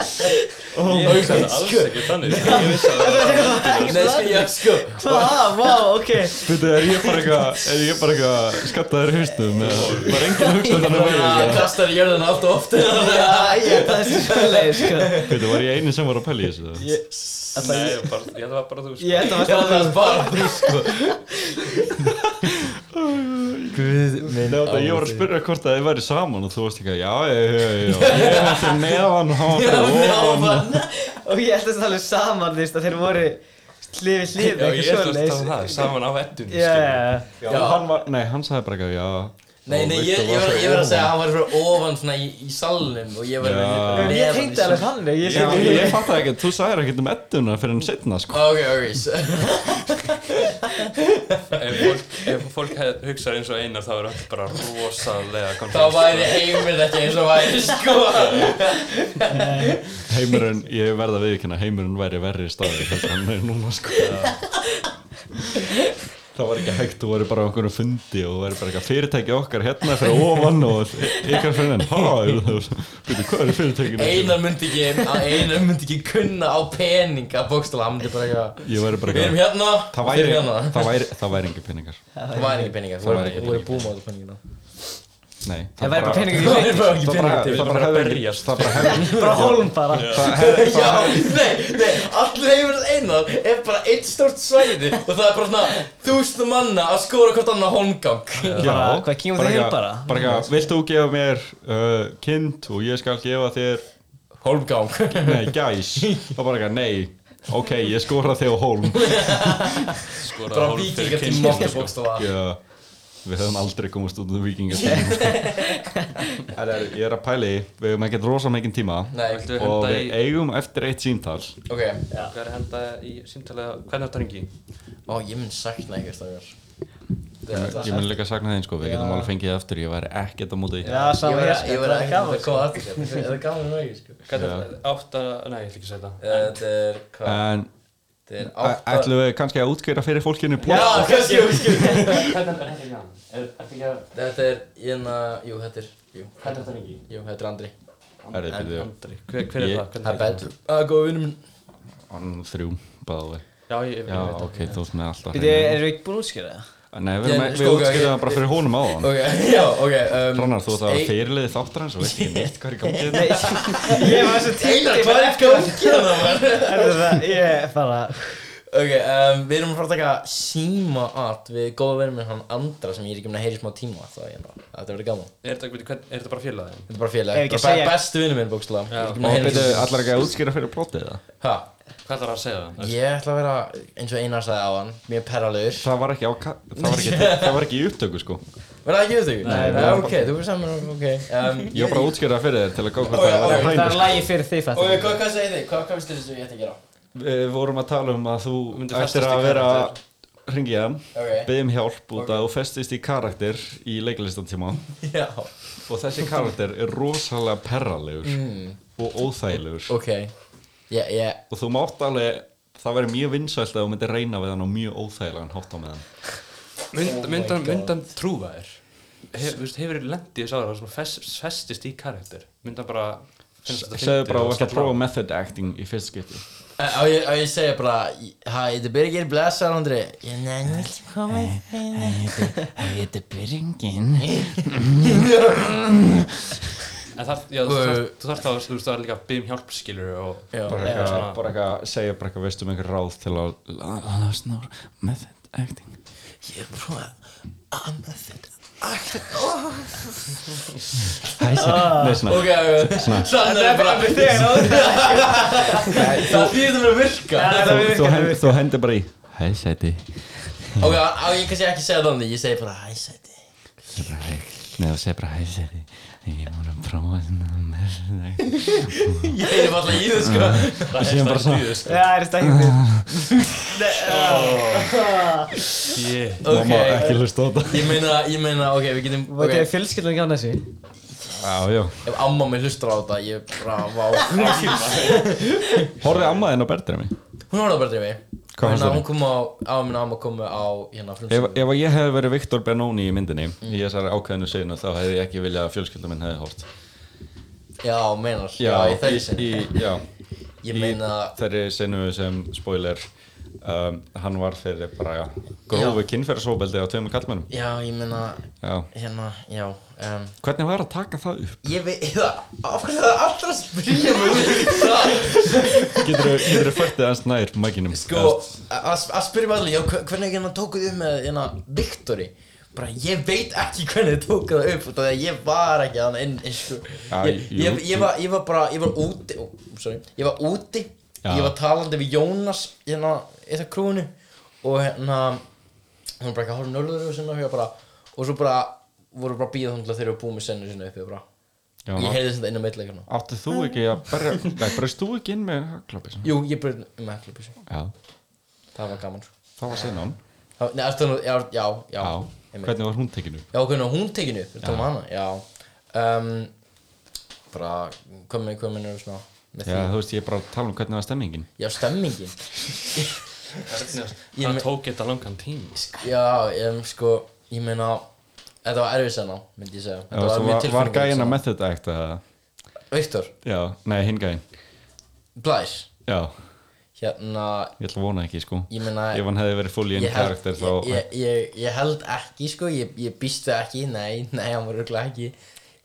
S4: Ég vissi þetta alls ekki þannig Ég vissi að það var
S2: Nei, sko, já, sko
S1: hvað, wow, ok
S3: Veitu, er ég bara eitthvað, er ég bara eitthvað skattaður í haustum eða var enginn að hugsa þannig að
S2: Það
S3: vera
S2: kastar í jörðina allt og oft
S1: Já, ég, það er svo leið sko.
S3: Veitu, var ég eini sem var að pæla í þessu það?
S1: ég,
S4: Nei, ég bara- ég held að það var bara þú sko.
S1: ég held að
S2: Já,
S1: það
S2: það
S1: var
S2: er bara þú sko Guð minn
S3: Nei, þetta, ég var að spyrja hvort að þið væri saman og þú varst ekki að já, já, já, já, já, ég er fyrir neðan og hann var fyrir ofan
S1: og ég held að það alveg saman því að þeir voru hlifi
S4: sko. Já,
S1: hlifi,
S4: ég
S1: eitthvað
S4: held að
S1: svoleiðis.
S4: það var saman á ettunni
S1: Já, já, já.
S3: Já, hann var, nei, hann sagði bara eitthvað, já
S2: Nei, nei, ég, ég, var, ég var að segja að hann var fyrir ofan svona í, í salnum og ég var
S3: Já.
S2: fyrir
S1: En ég tengdi alveg þannig ég
S3: Já,
S1: tengdi-
S3: ég fatt ekki, þú sagðir ekkert um edduna fyrir en setna, sko
S2: Ok, ok, s-
S4: Ef fólk, ef fólk hef- hugsar eins og einar þá er öll bara rosalega
S2: þá
S4: konflikt
S2: væri heimil ekki eins og væri sko
S3: Heimurinn, ég verða að viðkynna, heimurinn væri verri staði heldur hann er núna, sko Það var ekki hægt, þú voru bara á okkur fundi og þú voru bara eitthvað fyrirtæki okkar hérna fyrir ofan og ykkar fyrir enn, hæ, veitu, hvað er fyrirtækinu?
S2: Einar myndi ekki, að Einar myndi ekki kunna á peninga bókstala, hann myndi bara ekki
S3: Ég væri bara
S2: Við erum hérna,
S3: Það
S2: þið eruð
S3: væri,
S2: hérna
S3: það væri, það væri engin peningar
S2: Það væri ekki peninga,
S3: Það væri ekki
S2: þú voru búma á þessu peningina
S3: Nei
S1: það væri bara peningur í
S2: Það væri bara ekki
S3: Það bara,
S2: peninga til
S3: það bara
S4: bara
S3: hefði
S4: berjast.
S3: Það bara hefði
S1: bara hólm bara
S3: það hefði-
S2: Já, nei, nei, allir heimurinn einar er bara eitt stórt svæði og það er bara svona þúsund manna að skóra hvort annað holmgang
S1: Bara, hvað, kýmum þið heim
S3: eitthvað-
S1: bara?
S3: Bara eitthvað, vilt þú gefa mér uh, kind og ég skal gefa þér
S2: Holmgang
S3: Nei, gæs Það bara eitthvað, nei, ok, ég skora þig á hólm
S4: skora
S2: Bara
S4: hólf
S2: vikinga
S4: fyrir
S2: til
S4: kynnskjum
S2: mokka
S4: sko.
S2: bókstofa
S3: Já, við höfum aldrei komast út um vikingar Það er, ég er að pæli Við höfum ekkert rosa mikinn tíma
S2: Nei,
S4: Viltu
S3: Og
S4: henda í,
S3: við eigum eftir eitt síntal
S2: ok
S4: hvað er að henda í símtalið, hvernig þetta ringi?
S2: Ó, ég mun sakna ykkur stakar
S3: Ég mun líka sakna þeim sko, við getum alveg fengið aftur Ég væri ekkert á móti því.
S1: já,
S2: Ég
S1: saman
S2: var
S1: ég
S2: ekki
S1: sko,
S2: að
S1: það er
S2: koma
S1: gaman sko.
S2: aftur hérna. Það er gaman með ekki, sko
S4: Hvernig átt að, nei, ég ætla ekki að segja það
S2: Þetta er, hvað,
S3: En
S2: þetta er
S3: Eh, Æ-
S2: sko. átta
S3: Ætlum við kannski að útskýra fyrir fólkinu
S2: Já,
S3: plott?
S2: kannski, kannski
S4: Hvernig þetta ringi hann? Er þetta ekki að,
S2: Þetta er, hérna, jú, þetta er, jú,
S4: hvernig þetta ringi?
S2: jú, þetta er Andri
S3: Er þið byrjuð?
S4: Andri, hver, hver er
S3: Ég-
S4: það? Hvernig
S2: Það er
S4: heitir hann?
S2: Bell Það er góð vinnum Ah, minn
S3: Hann þrjú, báði
S4: Já, ég, ég
S3: Já,
S4: veit það
S3: ok, þú veist með alltaf
S1: Býtu,
S3: hreinu.
S1: erum við ekki búin að útskýra það?
S3: Nei, við, erum
S2: Ég-
S3: að-
S2: sko,
S3: við
S2: ok,
S3: útskýrðum
S2: ég-
S3: það bara fyrir honum á hann
S2: Ok, já, ok um,
S3: Rannar, þú ert
S2: Ei-
S3: að vera fyrirliði þáttar hans og veist ekki neitt hvað er í gangi hérna.
S1: Nei, ég var svo tengd
S2: Einar, hvað er gangið hérna, maður?
S1: það? Ég bara,
S2: Ok, um, við erum að fara að taka síma art við góða verðum minn hann Andra sem ég er ekki um að heyri í smá tíma þá ég hérna, þetta verður gaman
S4: Er þetta, veitu, hvern- er þetta bara félagið?
S2: Þetta er bara
S1: Ef
S2: félag,
S1: ekki að
S2: bara segja...
S1: segja-
S2: bestu vinnum minn bókstala Ég er ekki um að
S3: Og
S2: heyri
S3: byrju, allar ekki að útskýra fyrir plottið það?
S2: Hæ,
S4: Hvað ætlar það að segja það?
S2: ég ætla að vera eins og Einar sagði á hann, mjög perralegur
S3: Það var ekki á, ka- það var ekki, það var ekki í upptöku sko
S2: Var það ekki við þig?
S1: Nei,
S2: Nei,
S1: bara-
S2: ok, þú fyrir saman, ok um,
S3: Ég var bara að útskýra það fyrir þér til að gá hvað
S2: Ó, já,
S3: það
S2: ó, já,
S3: var að
S1: Það
S3: hræna
S1: er lagi fyrir þig
S2: Og
S1: fattar
S2: hvað, hvað segir þig? Hvað, hvað finnst þér þessu ég ætti að gera?
S3: Við vorum að tala um að þú
S4: myndir
S3: ættir
S4: festast í
S3: að vera
S4: karakter.
S3: Ringi hann,
S2: Ok.
S3: beðum hjálp út
S2: Ok.
S3: að þú festist í karakter í leiklistantíma
S2: Já
S3: og þessi karakter er rosalega perralegur og óþægilegur
S2: Mm. Ok Ég, ég,
S3: og þú mátt alveg, það verður mjög vinsælt að þú myndir reyna við hann og mjög óþægilegan hátt á með hann
S4: mynd,
S2: Oh my
S4: myndan,
S2: God.
S4: myndan trúa þér Hef, þú veist, hefur lendið þess aðra sem fest, festist í karakter myndan bara finnst þetta
S3: Segðu
S4: fyndið
S3: bara að
S4: og
S3: þú ert að
S4: skella á.
S3: prófa method acting í fyrst skipti
S2: Á á ég, á ég segja bara Hæ, þetta byrja ekki blessaðan Andri Ég nenni ekki koma í feina
S1: Þetta er byrjungin
S4: En þar, já, þú þarft- þú þarft þá, þú veist, það er líka að biðjum hjálp skilur og
S2: Já,
S3: bara
S2: já.
S3: eitthvað,
S4: svona-
S3: bara eitthvað, segja bara eitthvað, veist um einhver ráð til að það er snor method acting
S2: Ég prófa annað þetta
S3: Nei, svona,
S2: Ok, ok Sannig er bara Það fyrir þetta að virka
S3: þú, þú, hend, þú hendir bara í Hæ, sæti
S2: Ok, á á ég kannski ekki segja þannig Ég segi bara hæ sæti
S3: Nei, þú segir bara hæ, sæti Ég er múin að prófa svona method acting
S2: Ég er bara alltaf í þau sko
S3: Og síðan bara svona
S1: Það er stækjum
S4: yeah.
S3: Mamma,
S2: Ok
S3: ekki hlusta á þetta
S2: Ég meina, ég meina, ok, við getum
S1: Þetta er
S2: Ok,
S1: fjölskyldun ekki á þessu
S3: Já, já
S2: ef amma minn hlustar á þetta Ég bara, vá
S3: Horfið amma þinn á berðinu mig
S2: Hún horfði bara drefi
S3: Hvað fannst þér?
S2: Hún kom á, á minna amma komu á hérna
S3: Ef,
S2: frumsýningu.
S3: ef að ég hefði verið Viktor Benoni í myndinni í þessari ákveðinu sinu þá hefði ég ekki viljað að fjölskylda minn hefði hort
S2: Já, meinar Já, ég
S3: í,
S2: þekki sér
S3: í, já,
S2: Ég meina
S3: í þeirri sinu sem spoiler um, hann var fyrir bara grófi kynferðsóbeldi á tveimur kallmennum
S2: Já, ég meina
S3: Já.
S2: Hérna, já um,
S3: Hvernig var að taka það upp?
S2: Ég veit, það, af hverju það er alltaf að spyrja mig út í það
S3: Getur þú fættið hans nær mækinum?
S2: Sko, að að spyrja mig allir, já, hve- hvernig hérna tókuð þið með hérna Viktori? Bara, ég veit ekki hvernig þið tókuð það upp, því að ég var ekki þannig inn, sko.
S3: Já,
S2: Ég,
S3: jú,
S2: ég,
S3: jú.
S2: ég, var, ég var bara, ég var úti, ó, sorry, ég var úti,
S3: Já.
S2: ég var talandi við Jónas, hérna, í það krúinu, og hérna, hún var bara ekki að horfa nörður og sinna, og ég bara, og svo bara, voru bara að bíða þangað þegar ég var búið með sennu sinna uppi, og bara,
S3: Já.
S2: ég heyrði þetta inn á hérna. meitleikana.
S3: Áttu þú ekki að berja Nei, breyst þú ekki inn með haglabis?
S2: Jú, ég byrði með klubbi,
S3: Já,
S2: það var gaman, sko.
S3: það var sinan
S2: Það- Nei, ertu nú, já, já, já,
S3: Já,
S2: einmitt.
S3: hvernig var hún tekinu?
S2: Já, hvernig var hún tekinu upp, við tala um hana, já um, Bara, hvað með, hvað með nörðu svona með
S3: Já,
S2: því?
S3: þú veist, ég er bara að tala um hvernig var stemmingin
S2: Já, stemmingin Ég
S4: það
S2: me-
S4: tók þetta langan tíma
S2: Já, ég, sko, ég meina Þetta var erfið senna, myndi ég segja
S3: Já,
S2: Þetta mjög
S3: svo
S2: sko.
S3: var, var
S2: tilfinningarík
S3: gæin að
S2: sena.
S3: method act eða?
S2: Viktor,
S3: Já, nei, hinn gæin
S2: Blær,
S3: Já,
S2: hérna,
S3: ég ætla að vona ekki, sko
S2: ég meina
S3: Ef hann hefði verið full í einn
S2: ég held-
S3: karakter þá
S2: ég, ég, ég, ég held ekki, sko, ég, ég býst það ekki Nei, nei, hann var örugglega ekki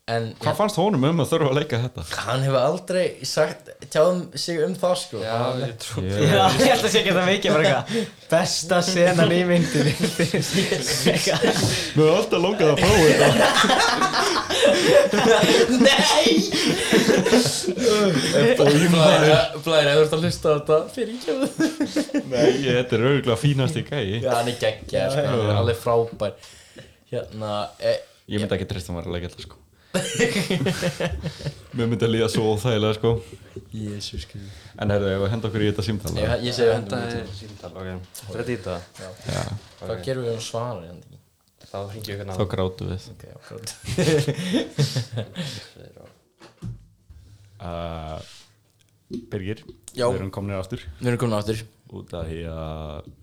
S2: En
S3: Hvað fannst honum um að þurfa að leika þetta?
S2: hann hefur aldrei sagt, tjáðum sig um það, sko
S4: Já, ég trú
S3: Ég,
S1: Já, ég held að sé ekki það mikið bara eitthvað Besta senan í myndinni Eitthvað.
S3: mér er alltaf langað að prófa þetta
S2: Nei Blæri, Blæri, þú ert að hlusta á þetta fyrir kjöðu
S3: Nei, ég- þetta er auðvitað fínasti gæi
S2: Já, hann er geggjær, sko, hann er alveg frábær Hérna, e,
S3: Ég myndi ekki treysta mér að leika þetta sko Mér myndi að líða svo óþægilega sko
S2: jésus kjöðu
S3: En herðu, ef við henda okkur í þetta símtala
S2: Ég, ég segi
S4: Þetta
S2: hendur mér
S4: er síntal, ok Þetta er dýta
S3: Já,
S2: Hvað gerum við um svara, ég hendur ekki
S4: Þá hringi ég
S3: þá
S4: hérna
S3: grátu við
S2: Ok, já, grátt
S3: uh, Birgir,
S2: Já.
S3: við erum komnir aftur
S2: Við erum komin aftur
S3: Út af því að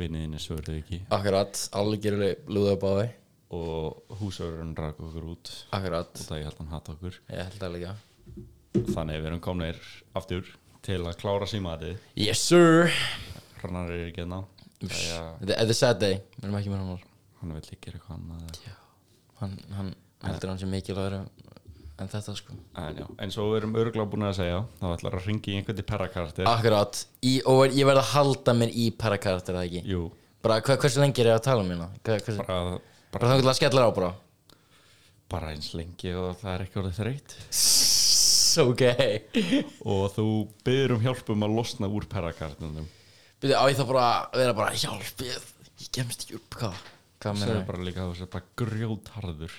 S3: vinniðinni svöruðu ekki
S2: Akkurat, algjörlega lúða upp á þau
S3: Og húsörun rak okkur út
S2: Akkurat
S3: Út af ég held hann hatt okkur
S2: Ég held það líka
S3: Þannig við erum komnir aftur Til að klára símaðið
S2: Yes sir
S3: Hrannar er ekki hérna. enná
S2: Þetta þetta er sad day, við erum ekki með hann
S3: Hann vil ekki gera eitthvað annað eða-
S2: Hann, hann heldur hann sem mikilvægur en þetta sko
S3: En já, eins og við erum örgulega búin að segja Þá ætlar að ringi í einhvern til perrakartir
S2: Akkurát, í, og ég verð að halda mér í parakarakter, það ekki?
S3: Jú,
S2: Bara, hva, hversu lengi er ég að tala um hérna? Hva, hversu, bara,
S3: bara, bara,
S2: bara þá getur það skellar á bara
S3: bara eins lengi og það er ekki orðið þreytt
S2: Sss, Ok
S3: og þú byrður um hjálpum að losna úr perrakarnunum
S2: Byrju, á ég þá bara að vera bara, hjálp, ég, ég kemst ekki upp, hvað? Hvað
S3: Það
S2: meina
S3: er
S2: ég?
S3: bara líka að það er bara grjótharður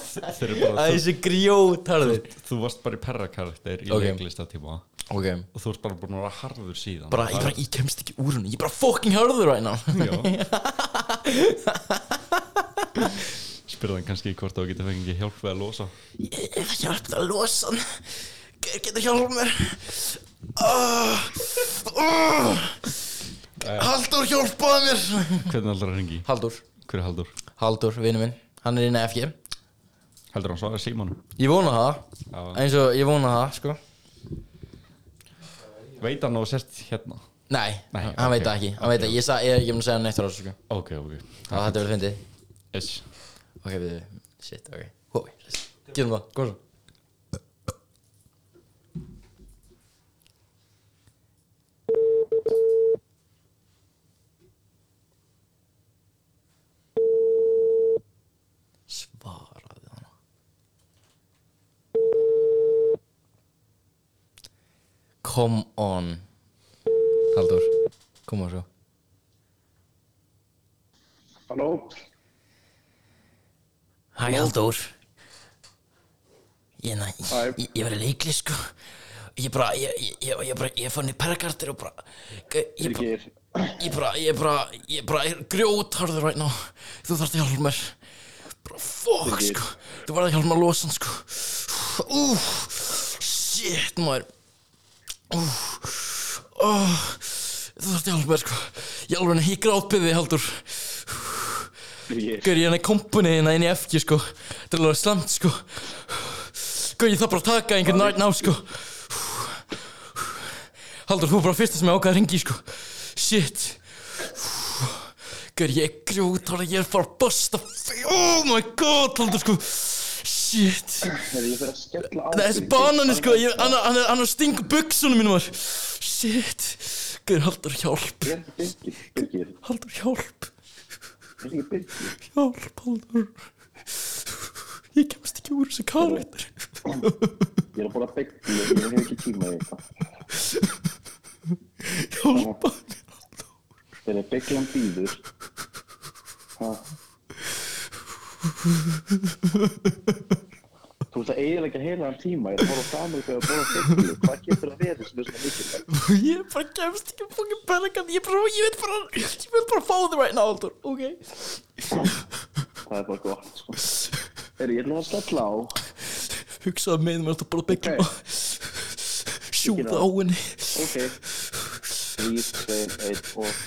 S3: Þeir eru bara
S2: Það er þessi grjótarður
S3: þú, þú varst bara í perrakarakter í
S2: Ok.
S3: okay. leiklistatíma og
S2: Ok
S3: þú varst bara búin að vera harður síðan
S2: Bara, ég, bara, ég kemst ekki úr henni Ég er bara fucking harður right now
S3: Já Spyrðan kannski hvort þú getur fengið hjálp við að losa
S2: Ég- Ég það hjálp það að losa hann Hver getur hjálp mér? Ah, ah, Haldur hjálpaði mér
S3: Hvernig aldrei hringi?
S2: Haldur
S3: Hver er Haldur?
S2: Haldur, vinnu minn Hann er inn að FG
S3: Heldur hann svara símanum?
S2: Ég vona það
S3: Já.
S2: Eins og ég vona það, sko
S3: Veit hann og sérst hérna?
S2: Nei,
S3: Nei,
S2: hann
S3: ok.
S2: veit það ekki Hann veit það, ég, sa- ég er ekki mun að segja hann neitt frá þessu, sko
S3: Ok, ok
S2: Það þetta verið fyndið
S3: Yes
S2: Ok, við Shit, ok Hói, gerum það, góðum svo Svaraði hann Come on Haldur, koma svo
S5: Halló,
S2: Hæ Halldór Ég, na,
S5: Hæ.
S2: ég, ég, ég var í leikli sko Ég bara, ég, ég, ég, ég bara, ég fann í perrakartir og bara Ég bara,
S5: Birgir.
S2: ég bara, ég bara, ég bara er grjótharður right now Þú þarft að hjálpa mér Bara fuck
S5: Birgir.
S2: sko Þú varð að hjálpa mér að losa hann sko Ú, shit maður Ú, ó, þú þarft að hjálpa mér sko Ég alveg, ég grátbyði Halldór
S5: Birgir.
S2: Gaur, ég er hann í kompunni hérna inn í FG, sko. Þetta er alveg slamt, sko. Gaur, ég þarf bara að taka einhvern right now, sko. Haldur, þú er bara fyrsta sem ég ákvað að ringi, sko. Shit. Gaur, ég er grjótala, ég er bara að basta. Oh my god, Haldur, sko. Shit.
S5: Heyrðu, Ég fyrir að skella á
S2: Nei, þessi
S5: Birgir.
S2: banani, sko, ég, hann, hann, er- hann er að stinga buksunum mínum, var. Shit. Gaur, Haldur, hjálp.
S5: Birgir, Birgir, Birgir,
S2: Haldur, hjálp.
S5: Birgir, Birgir.
S2: Hjálp, Haldur Ég kemst ekki úr þessu karakter
S5: Ég er að búin að byggja, ég ég hef ekki tíma í þetta.
S2: Hjálpa
S5: Þegar byggjan býður. Ha? Þú ert að eiginlega heila hann tíma, ég er að bóra fram úr þegar að bóra byggju. Hvað getur að vera sem er svona mikilvægt?
S2: Ég bara kemst ekki fókin bergan Ég bara, ég veit bara, ég vil bara fá þið right now, Haldur Ok
S5: Það er bara gott, sko. Heyrðu, ég ætla að skella á.
S2: Hugsaði með mér að bara byggja
S5: Ok.
S2: okay. Sjúða á henni
S5: Ok. 3, 2, 1 og...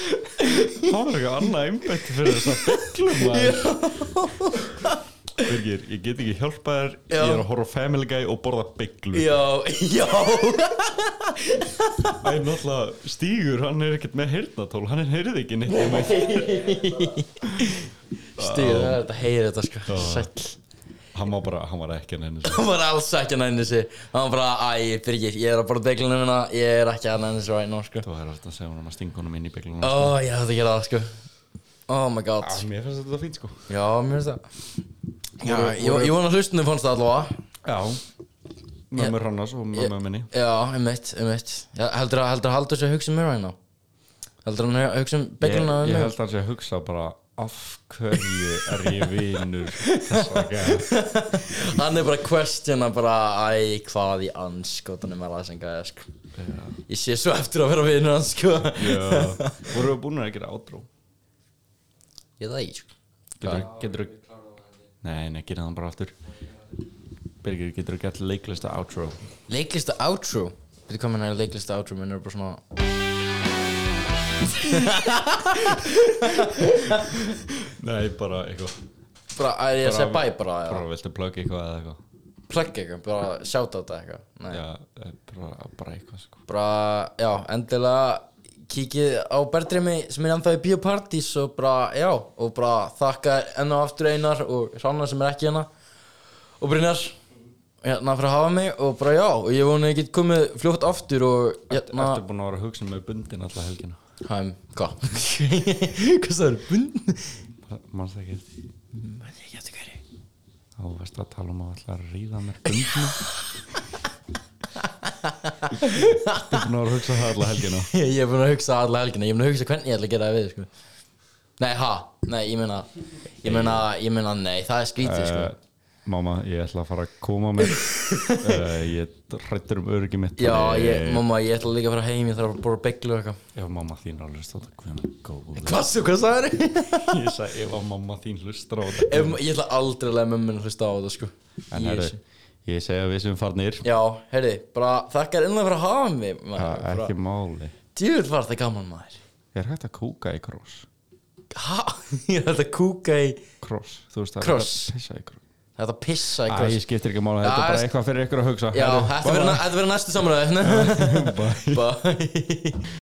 S3: Það var eitthvað annað einbætt fyrir þess að bygglu maður Birgir, ég get ekki hjálpað þér
S2: Já.
S3: Ég er að horfa á Family Guy og borða bygglu
S2: Já, já
S3: Það er náttúrulega stígur, hann er ekkert með heyrnatól Hann er heyrið ekki neitt um eitt
S2: Stíð, það er þetta heyri þetta sko Sæll
S3: Hann var bara, hann var ekki að henni
S2: Hann var alls ekki að næni sig Hann var bara, æ, Birgir, ég er að bara byggja henni Ég er ekki að næni sig right now, sko
S3: Þú er alltaf að segja honum að stinga honum inn í bygglunum
S2: Ó, ég hætti að gera það, sko Oh my god
S3: Mér finnst þetta fínt sko
S2: Já, mér finnst það Já, ég, ég vona hlustinu fannst það allavega
S3: Já Mömmu Hrannars og mömmu minni
S2: Já, um eitt, um eitt Heldur að, heldur að haldur sér hugsa um mér hérna Heldur að hann hugsa um
S3: Ég,
S2: begluna um
S3: ég
S2: mig
S3: held að hann sé að hugsa bara Af hverju er ég vinur þessa gæja?
S2: Hann er bara að questiona bara Æ, hvað í anskotanum er það sem gæði sko. Ég sé svo eftir að vera vinur hans sko.
S3: Já. Voru við búin að gera átrú?
S2: Ég það ekki sko.
S3: Getur, getur Nei, nei, gera það bara aftur Birgir, getur þú gert leiklista outro
S2: Leiklista outro Veitir hvað menn er leiklista outro Menn er bara svona
S3: Nei, bara eitthvað
S2: bara, Æ, ég að segja bæ bara
S3: Bara
S2: eða
S3: viltu plugga eitthvað eða eitthvað
S2: Plugga eitthvað, bara shoutout eða eitthvað Nei.
S3: Já, eh, bara, bara eitthvað sko
S2: bara, já, endilega kíkið á Bertrimi sem er ennþá í Bíopartís og bara, já, og bara þakka enn og aftur Einar og Hrannar sem er ekki hérna og Brynjar hérna fyrir að hafa mig og bara já, og ég vona ég get komið fljótt aftur og
S3: Ertu
S2: hérna
S3: búin að vera að hugsa með bundin alla helgina
S2: Hæm, hvað? Hvað það er bund?
S3: Manst það ekki
S2: Ég geti hverju
S3: Þá veist að tala um að ætla að ríða mér bundina búin að vera að hugsa það alla helgina
S2: ég er búin að hugsa alla helgina ég er búin að hugsa hvernig ég ætla að gera það við sko. nei, ha, nei, ég meina ég meina, ég meina, nei, það er skrítið sko.
S3: uh, Mamma, ég ætla að fara að koma mér uh, Ég hrættur um öryggi mitt Eh,
S2: já, ég, mamma, ég ætla líka að fara heim ég þarf að bóra bygglu og eitthvað
S3: Ef mamma þín er alveg stóta Hvernig góð
S2: hvað, svo, hvað sagði þér?
S3: Ég sagði ef að mamma þín hlustar á þetta
S2: ég ætla aldrei að lega mömmun hlusta á það sko.
S3: En
S2: Ég-
S3: herru, ég segja að við sem farnir
S2: já, heyrði, bara þakkar innan fyrir að hafa mig maður,
S3: Það er
S2: bara-
S3: ekki máli
S2: Djúvill var það gaman maður
S3: Er hægt að kúka í kross?
S2: Ha? Ég ætla að kúka í
S3: Kross, þú veist það er
S2: Kross.
S3: hægt að pissa í kross
S2: Þetta pissa í
S3: Æ,
S2: kross
S3: ég skiptir ekki máli,
S2: Já,
S3: þetta er bara
S2: ég-
S3: eitthvað fyrir ykkur að hugsa
S2: Já, þetta
S3: Herru,
S2: verður næ- þetta verður næstu samræði Bye